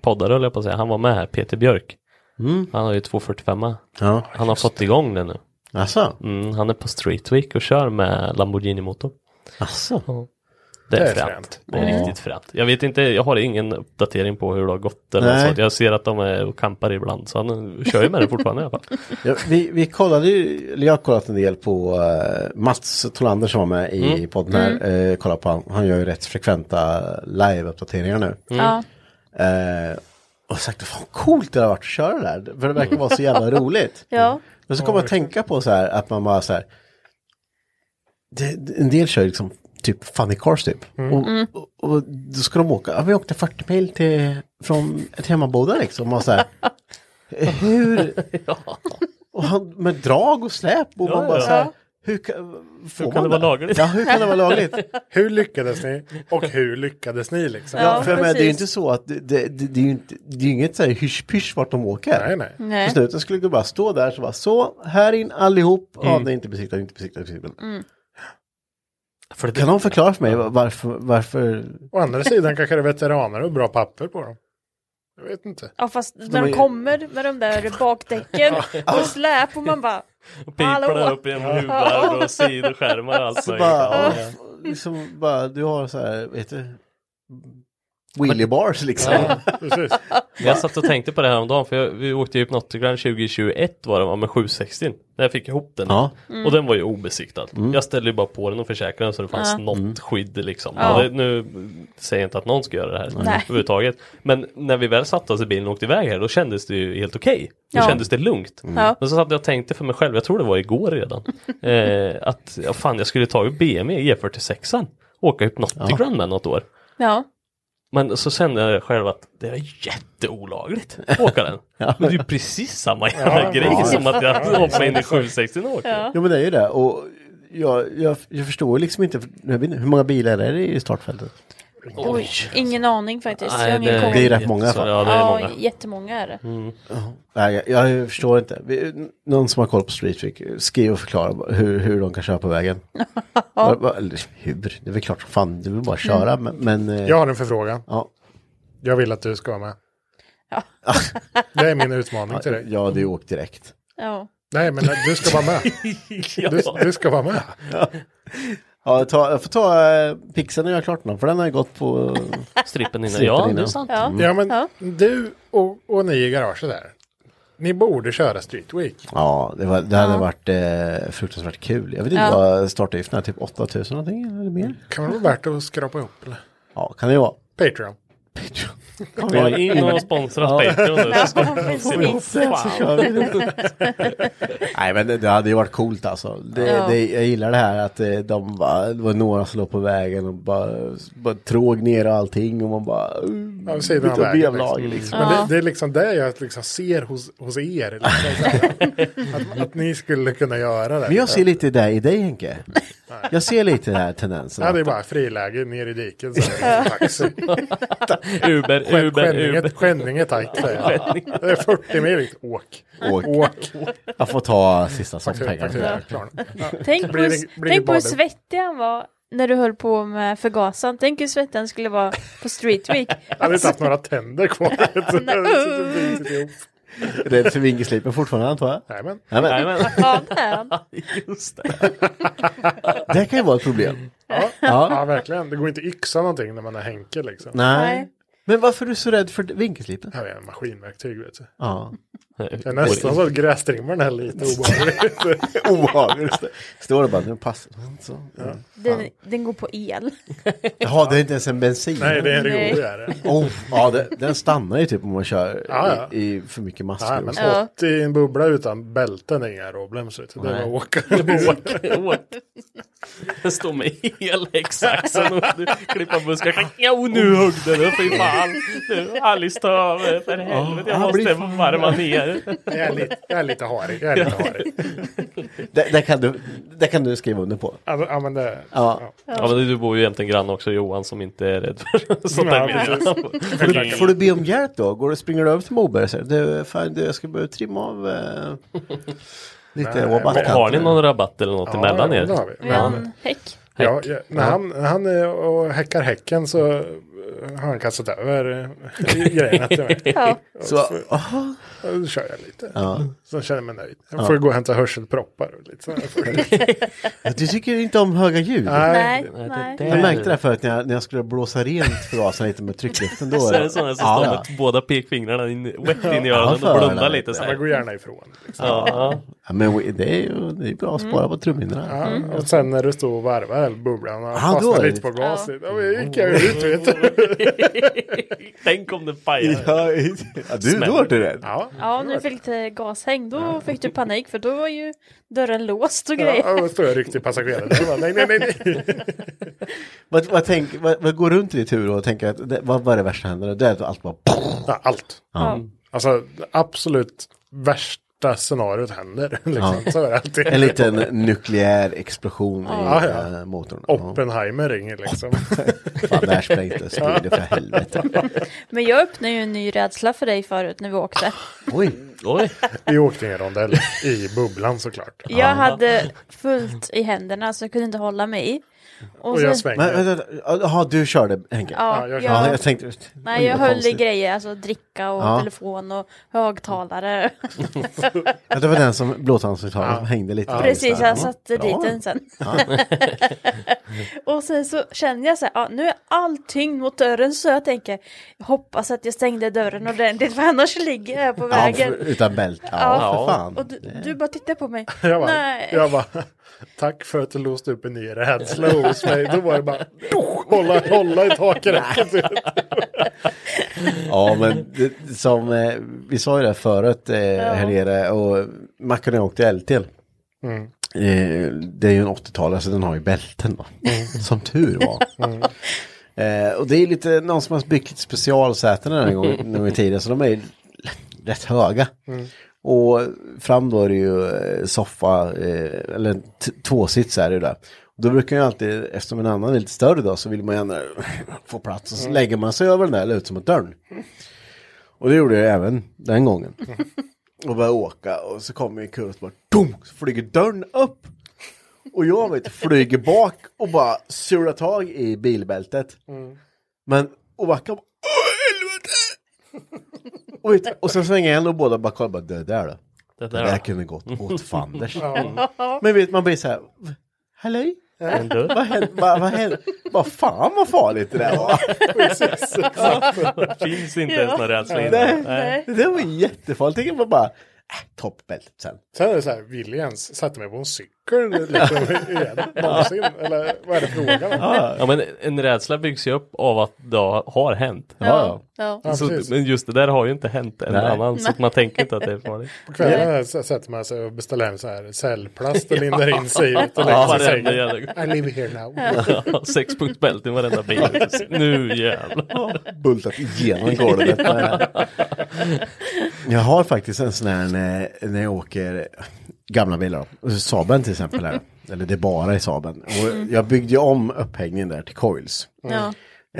B: poddare höll jag på att säga. Han var med här, Peter Björk. Han har ju 245
A: Ja,
B: Han har fått igång Mm. det nu.
A: alltså.
B: Mm, han är på Street Week och kör med Lamborghini-motor.
A: alltså.
B: Det är,
C: Det är
B: fränt.
C: fränt.
B: Det är riktigt fränt. Jag vet inte, jag har ingen uppdatering på hur det har gått eller
A: Nej.
B: något sånt. Jag ser att de är och kampar ibland så han eh, kör ju med det fortfarande i alla fall.
A: Ja, vi, vi kollade ju, eller jag har kollat en del på eh, Mats Tolander som var med i
B: Mm.
A: podden här. Eh, kolla på han, han gör ju rätt frekventa live-uppdateringar nu.
I: Mm.
D: ja,
A: Eh, och sagt, fan coolt det har varit att köra det där. För det verkar vara så jävla
B: Mm.
A: roligt.
D: ja,
A: Men så kommer jag att tänka på så här att man bara så här. Det, det- en del kör ju liksom typ funny cars typ.
B: Mm.
A: Och, och, och då ska de åka, ja vi åkte 40 mil till, från ett hemmaboda liksom. Och så här, hur? Och han, med drag och släp och man bara
B: ja.
A: så här. Hur kan, får
B: kan
A: man
B: det vara lagligt?
A: Ja, hur kan det vara lagligt?
C: Hur lyckades ni? Och hur lyckades ni liksom?
A: ja, för jag menar, det är ju
D: precis.
A: inte så att det, det, det, det är ju inte, det är ju inget så här hysch-pysch vart de åker.
C: Nej, nej.
A: På
D: nej.
A: snuten skulle du bara stå där så bara så, här in allihop, ja
C: Mm.
A: det är inte besiktat, inte besiktat, inte besiktat.
D: Mm.
B: För det,
A: Kan någon förklara för mig varför, varför,
C: Å andra sidan kanske det är veteraner och bra papper på dem. Jag vet inte.
D: Ja, fast när de kommer med de där bakdäcken och släp och man bara,
B: piporna
D: Hallå.
B: upp genom huvar och sidoskärmar och allt
A: så
B: möjligt.
A: liksom bara, ja, liksom bara, du har så här, vet du, Wheelie bars liksom.
B: Ja, precis. Men jag satt och tänkte på det här om dagen för jag, vi åkte ju Hypnotogram 2021 var det va, med 760. När jag fick ihop den.
A: Ja.
D: Mm.
B: Och den var ju obesiktad.
D: Mm.
B: Jag ställde ju bara på den och försäkrade den så det fanns
D: Ja.
B: något skydd liksom.
D: Ja.
B: Och det, nu säger jag inte att någon ska göra det här
D: Nej.
B: överhuvudtaget. Men när vi väl satte oss i bilen och åkte iväg här då kändes det ju helt okej. Då
D: Ja.
B: kändes det lugnt.
D: Mm. Ja.
B: Men så satt jag och tänkte för mig själv, jag tror det var igår redan. eh, att ja, fan jag skulle ta ju E BMW E46an. Åka Hypnotogram med något år.
D: Ja.
B: Men så kände jag själv att det är jätteolagligt att åka den. Men det är ju precis samma jävla
A: Ja,
B: grej
A: ja.
B: som att jag
A: Ja,
B: hoppade in i
A: exakt.
B: 760 och åkte.
D: Ja.
A: Jo men det är ju det. Och jag, jag, jag förstår liksom inte, jag vet inte, hur många bilar är det i startfältet?
D: Oj, ingen aning faktiskt.
A: Nej,
D: jag har ingen
A: det-
D: koll.
A: det är rätt många i alla fall.
D: Ja,
A: Ja, det är många. Mm.
D: jättemånga är det.
B: Mm.
A: Nej, jag, jag förstår inte. Vi- n- Någon som har koll på Street Freak, skriv och förklara hur, hur de kan köra på vägen. Va- va- eller hur? Det är väl klart som fan, du vill bara köra.
C: Mm.
A: Men, men, eh,
C: Jag har en förfrågan.
A: Ja.
C: Jag vill att du ska vara med. det är min utmaning till dig.
A: Ja, du åkt direkt.
D: Ja.
C: Nej, men du ska vara med. Du, du ska vara med.
A: Ja, ta, jag får ta eh, pixeln när jag är klart den, för den har ju gått på...
B: Strippen
A: innan. Ja, det är sant.
D: Ja,
A: Mm.
C: ja men du och, och ni i garaget där. Ni borde köra Street Week.
A: Ja, det, var, det hade varit eh, fruktansvärt kul. Jag vet inte
C: Ja.
A: vad startavgiften är, typ 8000 någonting eller mer?
C: Kan det vara värt att skrapa ihop eller?
A: Ja, kan det vara.
C: Patreon.
A: Patreon.
B: Gå in och sponsra Patreon nu, så ska vi få se. Fan.
A: Nej men det, det hade ju varit coolt alltså. Det,
B: Ja.
A: det, jag gillar det här att eh, de bara, det var några som låg på vägen och bara, bara tråg ner och allting och man bara... Uh,
C: Ja, vid sidan av
A: bytte
C: vägen.
A: vevlag,
C: liksom.
A: liksom.
C: Men
A: Ja.
C: det, det är liksom det jag liksom ser hos, hos er. Liksom, så här, att, att ni skulle kunna göra det.
A: Men jag ser lite där i dig Henke.
C: Nej.
A: Jag ser lite den här tendensen.
C: Ja,
A: att-
C: det är bara friläge ner i diken. Så här, taxi.
B: Uber,
C: Skän-
B: Uber,
C: Skänninge-
B: Uber.
C: Skänninge tajt säger jag. Det är 40 mil. Åk.
A: Åk.
C: Åk.
A: Jag får ta sista soffpengarna.
C: faktura, klar. Ja.
D: Tänk på,
C: Blir det-
D: hur-
C: blir det
D: tänk på hur
C: baden?
D: svettig han var när du höll på med förgasaren. Tänk hur svettig han skulle vara på Street Week.
C: Jag hade inte haft några tänder kvar.
A: Rädd för vinkelslipen fortfarande antar jag?
C: Nämen.
A: Nämen.
D: Ja, det är han.
B: Just
A: Det här kan ju vara ett problem.
C: Ja.
A: Ja.
C: Ja. verkligen. Det går inte yxa någonting när man är Henke liksom.
A: Nej. Men varför är du så rädd för vinkelslipen?
C: Jag är maskinverktyg vet du.
A: Ja.
C: Det är nästan så att grästrimmaren är lite obehaglig.
A: Obehaglig. just det. Står det bara nu passar den så. Ja.
D: Den, den går på el.
A: Jaha, det är inte ens en bensin.
C: Nej, det är
D: Nej.
C: en Renault, det är det.
A: Oh, ja, det, den stannar ju typ om man kör
C: Ja, ja.
A: I, i för mycket maskor.
C: Nej,
A: och
C: men
A: så.
C: 80 i en bubbla utan bälten är inga problem. Så det är bara
A: Nej.
C: att åka.
B: Åk, åk. Det står med elhäcksaxen och du klippa buskar. Jo, nu högg det. nu, Fy fan. Nu, Alice ta över. För helvete, jag
A: han blir
B: måste
A: fan-
B: varma ner.
C: Jag är lite, jag är lite harig. Jag är lite harig.
A: Det, det, kan du, det kan du skriva under på.
C: Ja, men- Ja, men det...
A: Ja.
B: Ja, men du bor ju jämte en granne också, Johan, som inte är rädd för sånt där.
C: Ja,
A: Får du,
B: miljö.
A: får du be om hjälp då? Går du, springer du över till Moberg och säger du, fan, du, jag ska börja trimma av eh, lite
C: Nej,
A: rabatt.
B: Har ni någon rabatt eller något
C: Ja,
B: emellan
C: ja,
B: er?
C: det har vi.
D: Ja,
C: Men-
D: häck.
C: Ja, ja, när han, när han är och häckar häcken så eh, har han kastat över eh, grejerna till mig.
D: Ja.
C: Och
A: Så, aha.
C: ja, då kör jag lite.
A: Ja.
C: Så känner jag mig nöjd. Jag
A: Ja.
C: får gå och hämta hörselproppar och lite sådär.
A: Du tycker inte om höga ljud?
D: Nej,
B: det-
D: nej.
B: det-
A: Jag märkte det här förut när jag, när jag skulle blåsa rent förgasen lite med tryckluften. Då
B: Så är det sådana som står med båda pekfingrarna in, rätt in i öronen och blundar lite så
C: Man
B: här.
C: går gärna ifrån. Liksom.
B: Ja, ja.
A: Ja, men we- det är ju det är bra att spara på trumhinnorna.
C: Ja, Och sen när du står och varvar eller bubblan och
A: Ja, då
C: fastnar
A: är det- Mm.
C: lite på gas. Ja. men gick jag ut vet du.
B: Tänk om det pajar.
A: Ja, ja, du, då var du rädd.
C: Ja,
D: Ja, när du fick lite gashäng då fick du panik för då var ju dörren låst och
C: ja,
D: grejer.
C: och då står jag ryckt i passageraren. Bara, Nej, nej, nej, nej.
A: Vad, vad, tänk, vad, vad går runt i ditt huvud och tänker att det, vad var det värsta som hände? Det är att allt bara...
C: Ja, allt.
D: Ja.
C: Alltså det absolut värsta scenariot händer. Liksom. Så är det alltid.
A: En liten nukleär explosion
C: Ja,
A: i
C: Ah, ja.
A: eh, motorn.
C: Oppenheimer ringer liksom.
A: Ja. Fan, där sprängdes det för helvete.
D: Men jag öppnade ju en ny rädsla för dig förut när vi åkte.
A: Oj,
B: Oj.
C: Vi åkte i en rondell i bubblan såklart.
D: Jag hade fullt i händerna så jag kunde inte hålla mig i. Och Och jag sen- svängde.
A: Men, vänta, Jaha, du körde Henke?
D: Ja, jag
A: ja,
D: körde.
A: jag tänkte...
D: Nej, jag
A: Vad
D: höll i
A: konstigt.
D: grejer, alltså dricka och
A: Ja.
D: telefon och högtalare.
A: Ja, det var den som blåtandshögtalaren som hängde lite. i
D: Precis,
A: där.
D: jag
A: Ja,
D: satte
A: bra.
D: dit den sen.
A: Ja.
D: och sen så kände jag så här, ja, nu är allting mot dörren så jag tänker, jag hoppas att jag stängde dörren ordentligt för annars ligger jag på
A: Ja, för,
D: vägen.
A: utan bälte. Ja,
D: Ja.
A: för fan.
D: Och du, du bara tittar på mig.
C: Jag bara,
D: Nej.
C: jag bara, tack för att du låste upp en ny rädsla hos mig. Då var det bara, hålla, hålla i takräcket.
A: Ja, men det, som eh, vi sa ju det här förut eh, här nere och Mackan har åkt till LT.
C: Mm.
A: Eh, det är ju en 80-talare så den har ju bälten då. Som tur var. Eh, och det är lite någon som har byggt lite specialsäten den här gången nu i tiden så de är ju rätt höga.
C: Mm.
A: Och fram då är det ju eh, soffa, eh, eller t- tvåsits är det ju där. Och då brukar jag alltid, eftersom en annan är lite större då, så vill man gärna få plats. Och så
E: Mm.
A: lägger man sig över den där eller ut som ett dörren. Och det gjorde jag även den gången. Och började åka och så kommer en kurva och så bara dum, så flyger dörren upp. Och jag vet, flyger bak och bara surar tag i bilbältet.
C: Mm.
A: Men, och backar bara, och, vet, och sen svänger jag och båda bara kollar, bara, det där då.
B: Det
A: Det
B: där
A: där,
B: då."
A: kunde gått åt fanders.
E: Ja.
A: Men vet man blir så här, Hallå?
E: En
A: vad
E: dörr.
A: hände? Vad, vad hände? Vad fan vad farligt det där var.
E: Precis, exakt.
B: Det finns inte ens någon rädsla innan.
A: Nej,
B: Nej.
A: Det där var jättefarligt. Tänk om man bara, äh, toppbältet sen.
C: Sen är det så här, vill jag ens sätta mig på en cykel liksom, igen? Någonsin? Eller vad är det frågan om?
B: Ja men en rädsla byggs ju upp av att det har hänt.
C: Ja, ja. Ja,
B: Så,
C: precis.
B: men just det där har ju inte hänt en
C: Nej.
B: annan så att man tänker inte att det är farligt.
C: På kvällen här så sätter man sig och beställer hem så här cellplast och lindar in sig ut och
B: Ja,
C: lägger sig i
B: varenda
C: sängen. I
B: jävla-
C: live here now.
B: Ja, Sexpunktsbälte i varenda bil. Nu jävlar.
A: Bultat igenom golvet. Jag har faktiskt en sån här när, när jag åker gamla bilar. då. Saben till exempel. Här. Eller det är bara i Saben. Och jag byggde ju om upphängningen där till coils.
E: Ja.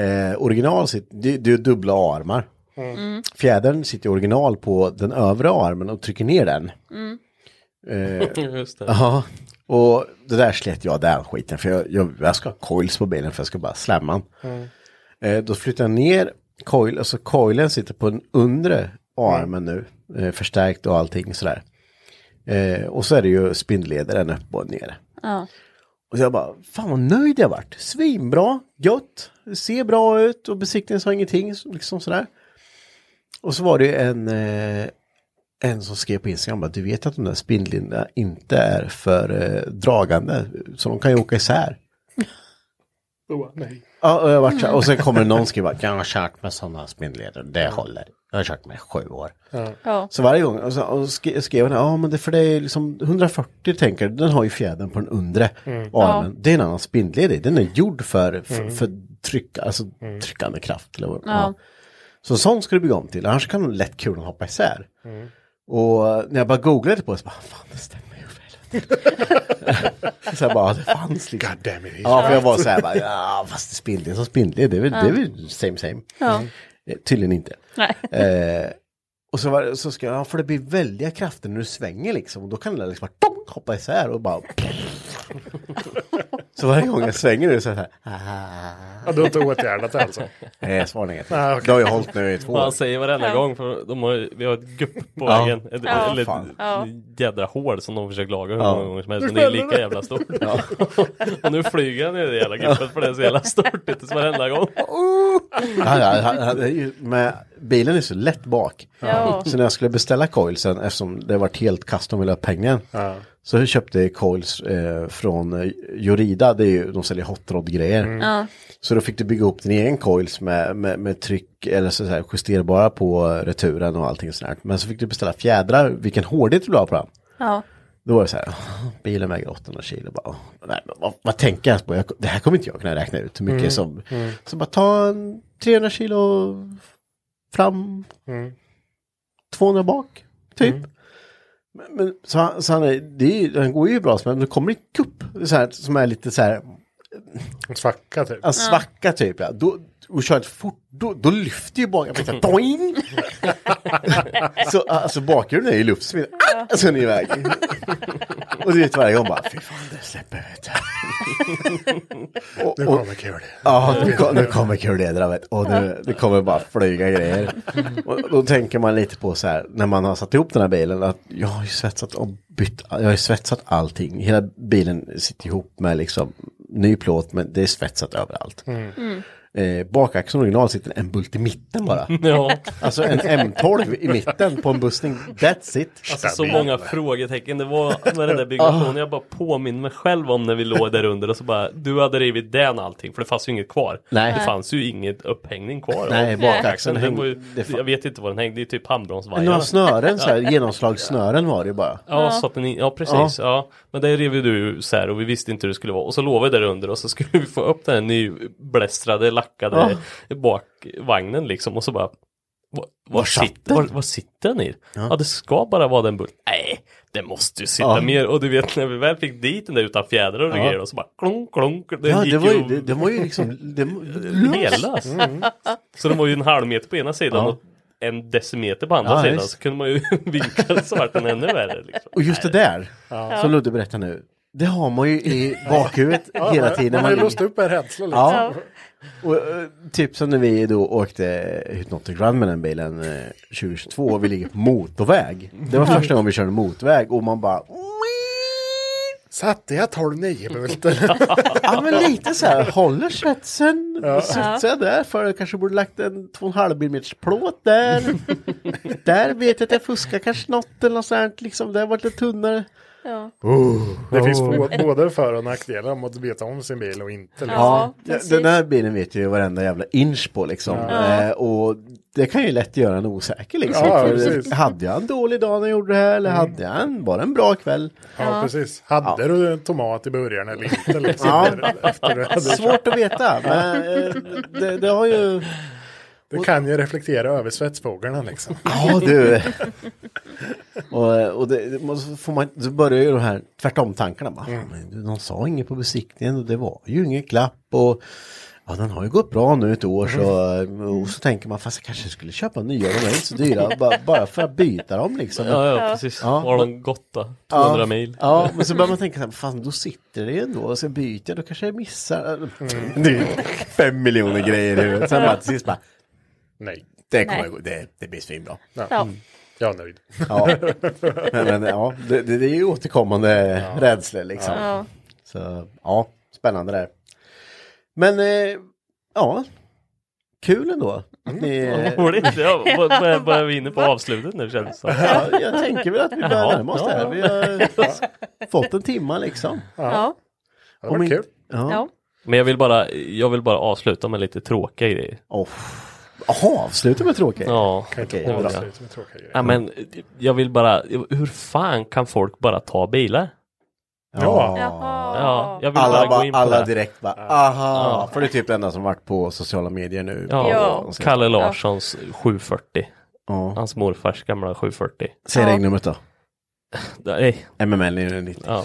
A: Eh, original sitter, det, det är dubbla armar.
E: Mm.
A: Fjädern sitter i original på den övre armen och trycker ner den.
E: Mm.
A: Eh,
B: Just det.
A: Ja, och det där slet jag den skiten för jag, jag, jag ska ha coils på bilen för jag ska bara slämma den.
E: Mm.
A: Eh, då flyttar jag ner coil, alltså coilen sitter på den undre armen nu, eh, förstärkt och allting sådär. Eh, och så är det ju spindelledaren upp och ner.
D: Ja.
A: Och så jag bara, fan vad nöjd jag vart. Svinbra, gött, ser bra ut och besiktningen sa ingenting, så- liksom sådär. Och så var det ju en, eh, en som skrev på Instagram, bara, du vet att de där spindlarna inte är för eh, dragande, så de kan ju åka isär.
C: Åh, nej.
A: Ja, och, jag vart, så här- och sen kommer någon skriva, jag har kört med sådana spindelleder, det håller. Jag har kört med i sju år.
C: Ja.
D: Ja.
A: Så varje gång, och, så, och sk- skrev han, ja men det är för det är liksom 140 tänker jag, den har ju fjädern på den undre
E: Mm.
A: armen. Det är en annan spindelled i, den är gjord för, för,
E: Mm.
A: för tryck, alltså tryckande kraft. Eller, vad-
E: Ja.
A: ja. Så sånt ska du bygga om till, annars kan lätt kulan hoppa isär.
C: Mm.
A: Och när jag bara googlade på det så bara, fan det stämmer ju för helvete. så jag bara, det fanns liksom.
C: God damn it.
A: Ja, för jag var så här bara, ja fast spindel som spindel, det är väl,
E: Ja.
A: det är väl same same.
E: Ja.
A: Eh, Tydligen inte.
E: Nej.
A: Eh, och så, var, det- så ska jag, ja, för det blir väldiga krafter när du svänger liksom, och då kan det liksom bara tong, hoppa isär och bara... så varje gång jag svänger nu så är det så här, ah.
C: Ja, du har inte åtgärdat det alltså?
A: Nej, svar negativt.
C: Ah, okej.
A: Det har jag hållit nu i två
B: Man
A: år.
B: säger varenda
C: Ja.
B: gång för de har, vi har ett gupp på
A: Ja.
B: vägen. Ett,
A: Ja.
B: Eller ett
A: Fan.
D: Ja.
B: jädra hål som de försöker laga hur
A: Ja.
B: många gånger som helst.
A: Nu
B: Men det är
A: smäller
B: lika
A: det.
B: jävla stort.
A: Ja.
B: och nu flyger han i det jävla guppet för det är så jävla stort. Det är varenda gång.
A: Oh. Ja, ja, han- han är ju med, bilen är så lätt bak.
B: Ja.
A: Så när jag skulle beställa coilsen, eftersom det varit helt kast, de ville ha pengen.
C: Ja.
A: Så jag köpte coils eh, från eh, Jorida, det är ju, de säljer hot rod grejer.
E: Mm. Ja.
A: Så då fick du bygga upp din egen coils med, med, med tryck, eller så här, justerbara på returen och allting sånt där. Men så fick du beställa fjädrar, vilken hårdhet du la på den.
D: Ja.
A: Då var det så här, "Åh, bilen väger 800 kilo. Bara, "Åh, nej, men vad, vad tänker jag ens på? Jag, det här kommer inte jag kunna räkna ut hur mycket
E: Mm,
A: som...
E: mm.
A: Så bara ta en 300 kilo fram,
B: Mm.
A: 200 bak, typ. Men, men, så han, så han, är, det är, ju- den går ju bra, men det kommer en kupp så här, som är lite så här...
C: En svacka typ.
A: En svacka typ, ja. Då, och kör lite fort, då, då lyfter ju bakhjulet. Doing! så alltså bakhjulen är ju luft, så vi- ah, så är ni iväg. Och du vet varje gång bara, fy fan det släpper vet du.
C: Oh.
E: Nu kommer kul.
A: Ja, nu, ko- nu kommer kullederna vet du. Och nu, det kommer bara flyga grejer. Och då tänker man lite på så här, när man har satt ihop den här bilen, att jag har ju svetsat och bytt, jag har ju svetsat allting. Hela bilen sitter ihop med liksom ny plåt, men det är svetsat överallt.
E: Mm. Mm.
A: Eh, bakaxeln original sitter en bult i mitten bara.
B: Ja.
A: Alltså en M12 i mitten på en bussning, that's it.
B: Alltså så många frågetecken det var med den där byggnationen. Jag bara påminner mig själv om när vi låg där under och så bara du hade rivit den allting för det fanns ju inget kvar.
A: Nej.
B: Det fanns ju inget upphängning kvar. av
A: Nej, bakaxeln
B: Den var ju,
A: hängde-
B: jag vet inte vad den hängde, det är ju typ handbromsvajrar.
A: Några snören så här,
B: Ja.
A: genomslagssnören var det ju bara.
B: Ja, så att den in, ja precis. Ja.
A: Ja.
B: Men det rev ju du så här och vi visste inte hur det skulle vara. Och så låg vi där under och så skulle vi få upp den här nyblästrade, lackade bakvagnen liksom. Och så bara, var, var, sitter, var, var sitter den i? Ja. det ska bara vara den bullen. Nej, det måste ju sitta
A: Ja.
B: mer. Och du vet när vi väl fick dit den där utan fjädrar och
A: Ja.
B: grejer och så bara klonk, klonk. Den
A: ja,
B: gick
A: det var ju,
B: och-
A: det, det var ju liksom, det, Mm,
B: Lelas. Så den var ju en halv meter på ena sidan
A: Ja.
B: och en decimeter på andra
A: Ja,
B: sidan.
A: visst.
B: Så kunde man ju vinkla så vart den ännu värre. Liksom.
A: och just det där,
B: Ja.
A: som Ludde berättar nu, det har man ju i bakhuvudet hela tiden. när
C: Man har ju
A: man-
C: låst upp en rädsla liksom.
A: Ja. Och, eh, typ som när vi då åkte Hypnotic Run med den bilen eh, 2022 och vi ligger på motorväg. Det var första gången vi körde motorväg och man bara
C: Satte jag 12-9 bulten?
A: Ja men lite så här, håller svetsen?
C: Ja.
A: Svetsar jag där för jag kanske borde lagt en 2,5 mm plåt där. där vet jag att jag fuskar kanske något eller något sånt liksom, där vart det tunnare.
D: Ja.
C: Det finns
A: Oh.
C: bå- både för och nackdelar om att veta om sin bil och inte. Liksom.
A: Ja, den här bilen vet ju varenda jävla inch på liksom.
C: Ja.
A: Eh, och det kan ju lätt göra en osäker liksom.
C: Ja,
A: För,
C: precis. Mm.
A: hade jag en dålig dag när jag gjorde det här eller hade jag en, bara en bra kväll?
C: Ja, precis. Hade du en tomat i början eller inte? Liksom,
A: Ja.
C: Efter du hade
A: Svårt att veta, men eh, det, det har ju...
C: Det kan ju reflektera över svetsfåglarna liksom.
A: Ja du. och och det, det- så får man, så börjar ju de här tvärtom-tankarna. Bara,
B: Mm.
A: "Fan, men du, De sa inget på besiktningen och det var ju ingen klapp. Och, ja, den har ju gått bra nu ett år så,
B: Mm.
A: och så tänker man fast jag kanske skulle köpa nya, de är inte så dyra, bara, bara för att byta dem liksom.
B: Ja, ja, precis.
A: Ja.
B: Var de gott då? 200
A: Ja,
B: mil.
A: Ja, men så börjar man tänka så här, fan då sitter det ju ändå och så byter jag, då kanske jag missar.
B: Mm.
C: Mm.
A: Det är ju fem miljoner grejer i huvudet. Sen bara till sist bara,
C: Nej.
A: det kommer
C: Nej.
A: gå, det, det blir svinbra.
C: Ja.
D: Ja.
C: Jag är nöjd.
A: Mm. Ja, men, men ja, det, det det är ju återkommande rädslor liksom.
D: Ja.
A: Så ja, spännande där. Men eh, ja, kul ändå. att Ni,
B: Roligt. Ja, b- b- börjar vi inne på avslutet nu känns det som.
A: ja, jag tänker väl att vi börjar
B: Jaha,
A: närma oss
B: ja,
A: det här.
B: ja.
A: Vi har fått en timma liksom.
E: Oh.
D: Ja.
C: Det
A: Om
C: var
A: inte-
C: kul.
A: Ja.
D: Ja.
B: Men jag vill, bara, jag vill bara avsluta med lite tråkiga grejer.
A: Oh. Jaha, avsluta med tråkigt.
B: Ja.
C: Kan inte
A: Okej,
B: bra.
C: avsluta med tråkiga grejer.
B: ja, men jag vill bara, hur fan kan folk bara ta bilar?
C: Ja.
D: Jaha.
B: Ja, jag vill
A: Alla,
B: bara gå in
A: bara,
B: på det.
A: alla direkt bara, aha,
B: Ja.
A: för det är typ det enda som varit på sociala medier nu.
B: Ja,
D: Ja.
B: Kalle Larssons 740.
A: Ja.
B: Hans morfars gamla 740.
A: Säg regnumret då.
B: Nej,
A: MML 990.
B: ja.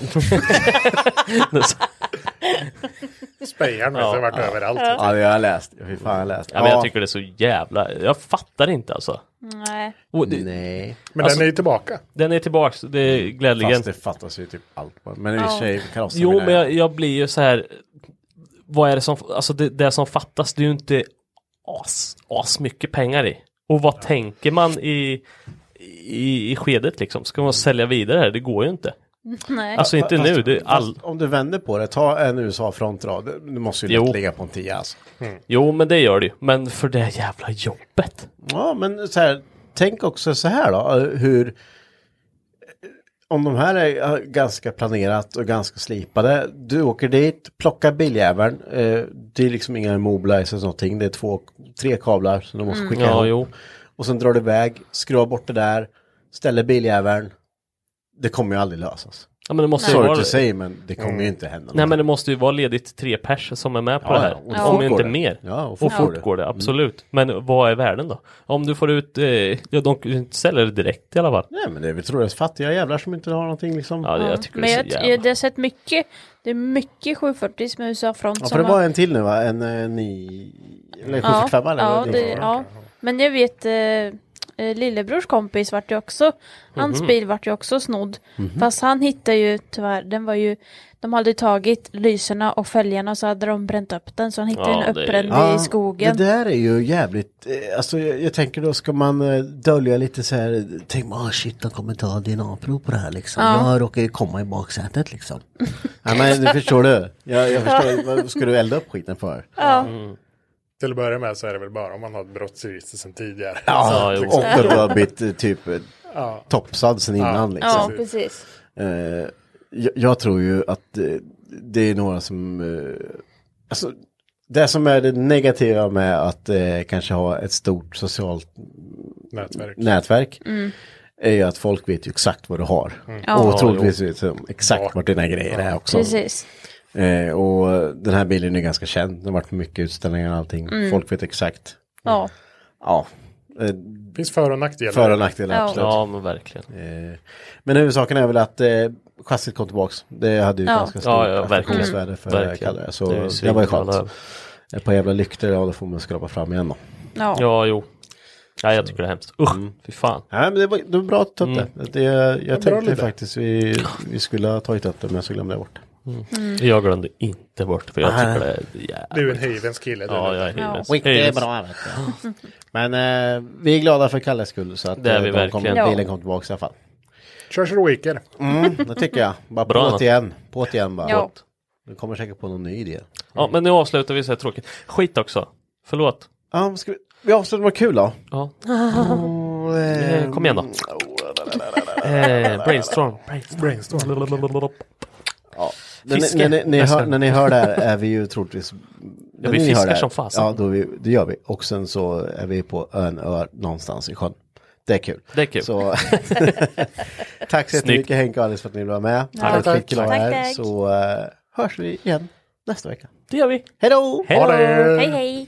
C: Spejaren vet du, har varit överallt.
A: Ja, det har jag läst. Fy fan, jag har läst.
B: ja, men jag tycker det är så jävla, jag fattar inte alltså.
D: Nej.
B: Och det,
A: Nej.
C: Men
B: Alltså-
C: den är ju tillbaka.
B: den är tillbaks, det är glädjeligen.
A: Fast det fattas ju typ allt. bara. Men i och för
D: Ja.
A: sig, karossen
B: Jo,
A: vill jag-
B: men jag, jag blir ju så här. Vad är det som, alltså det, det som fattas, det är ju inte as, as mycket pengar i. Och vad tänker man i, i, i skedet liksom? Ska man sälja vidare här? Det går ju inte.
D: Nej.
B: Alltså inte nu, det är all...
A: Fast om du vänder på det, ta en USA-frontrad. Du måste ju
B: Jo. Mm.
A: lätt ligga på en 10 alltså.
B: Jo, men det gör det ju. Men för det jävla jobbet.
A: Ja, men så här, tänk också så här då, hur... Om de här är ganska planerat och ganska slipade, du åker dit, plockar biljäveln, eh, det är liksom inga mobilizers eller någonting, det är två, tre kablar som de måste skicka
B: Ja,
A: ihop.
B: jo.
A: Och sen drar du iväg, skruvar bort det där, ställer biljäveln. Det kommer ju aldrig lösas.
B: Ja, men det måste ju
A: Sorry
B: vara... Mm.
A: to say, men det kommer ju inte hända.
B: Nej, men det måste ju vara ledigt tre pers som är med på
A: Ja,
B: det här.
A: ja, och
B: Om
A: fort
B: inte
A: går det.
B: mer.
A: Ja, och
B: och
A: fort går
B: fort
A: det. Mm.
B: går det, absolut. Men vad är värden då? Om du får ut, eh, ja, de kan ju inte sälja det direkt i alla fall.
A: Nej, men det är väl troligtvis fattiga jävlar som inte har någonting liksom.
B: Ja,
A: Ja,
B: det, jag tycker
D: Men
B: det är
D: jag,
B: så
D: jag,
B: jävla...
D: det har sett mycket, det är mycket 740 med USA-front
A: för det var en till nu va? En eh, ni... Eller 745 eller?
D: ja,
A: någonting.
D: det, ja. Men jag vet, eh, eh, lillebrors kompis vart ju också, hans
H: Mhm.
D: bil vart ju också snodd.
H: Mhm.
D: Fast han hittade ju tyvärr, den var ju, de hade ju tagit lyserna och fälgarna och så hade de bränt upp den så han hittade den uppbränd i skogen.
A: Ah, Det där är ju jävligt, eh, alltså jag, jag tänker då ska man eh, dölja lite så här, tänk man ah, shit de kommer ta DNA-prov på det här liksom.
D: Ja.
A: Jag råkar ju komma i baksätet liksom. ja, men det förstår du, jag, jag förstår, vad ska du elda upp skiten för?
D: Ja.
A: Mm.
C: Till att börja med så är det väl bara om man har ett brottsregister sedan tidigare.
D: Alltså,
A: Ja,
C: Så,
A: och
C: liksom.
A: att du har blivit eh, typ eh,
C: Ja.
A: topsad sen
C: Ja,
A: innan liksom.
D: Ja, precis.
A: Eh, jag, jag tror ju att eh, det är några som... Eh, alltså, det som är det negativa med att eh, kanske ha ett stort socialt
C: Nätverk.
A: nätverk
C: Mm.
A: är ju att folk vet ju exakt vad du har.
C: Mm.
D: Ja.
A: Och
D: Ja,
A: troligtvis
D: jo.
A: vet de exakt vart dina grejer är också.
D: Precis.
A: Eh, och den här bilen är ganska känd. Den har varit på mycket utställningar och allting.
D: Mm.
A: Folk vet exakt.
D: Ja.
A: Ja. Eh,
C: finns för och nackdelar.
A: För och nackdelar,
D: Ja.
A: absolut.
B: Ja, men verkligen.
A: Eh, Men huvudsaken är väl att eh, chassit kom tillbaks. Det hade ju
B: Ja.
A: ganska
B: Ja,
A: stort
B: ja, verkligen.
A: affektionsvärde för
B: Verkligen.
A: Kalle. Så
B: Det är ju
A: det, var ju
B: svinkul att
A: skönt.
B: höra.
A: Ett par jävla lyktor, ja då får man skrapa fram igen då.
D: Ja.
B: Ja, jo. Ja, jag tycker det är hemskt. Usch, fy fan.
A: Mm. Nej men det var, det var bra att ta upp
B: Mm.
A: det. det. Jag, jag
B: Bra
A: tänkte
B: lite.
A: faktiskt vi, vi skulle ha tagit upp det men så glömde jag bort det.
B: Mm. Jag glömde inte bort det, för jag
A: Nej.
B: tycker det är jävligt.
C: Du är en hyvens kille. du.
B: Ja, jag är hyvens.
A: Skit, det är
B: Hyvens.
A: bra vet du. Men eh, vi är glada för Kalles skull så att
B: Det är
A: eh,
B: vi
A: de kom,
B: verkligen.
A: bilen kom tillbaks i alla fall.
C: Kör så du viker.
A: Mm, det tycker jag. Bara
B: Bra,
A: på't
B: Anna.
A: igen. På't igen bara.
D: Ja.
A: Du kommer säkert på någon ny idé.
B: Ja, men nu avslutar vi så här tråkigt. Skit också. Förlåt.
A: Ja, ska vi, vi avslutar med kul då.
B: Ja.
A: Oh,
B: Eh, kom igen då. Eh, brainstorm. Brainstorm. brainstorm.
A: Ja. När, ni- när, ni- när, ni hör, när ni hör det här eh, är vi ju troligtvis... när
B: vi
A: ni hör
B: fiskar
A: det här,
B: som fasen.
A: Ja, då är vi, det gör vi. Och sen så är vi på en ö någonstans i sjön. Det är kul.
B: Det är kul.
A: Så, tack så
B: Snyggt.
A: jättemycket Henke och Alice för att ni ville vara med.
B: Tack.
A: Det var
B: Tack.
A: skitkul att ha
B: Tack,
A: er.
B: tack.
A: Så eh, hörs vi igen nästa vecka.
B: Det gör vi.
A: Hej då!
B: Hej då!
D: Hej hej.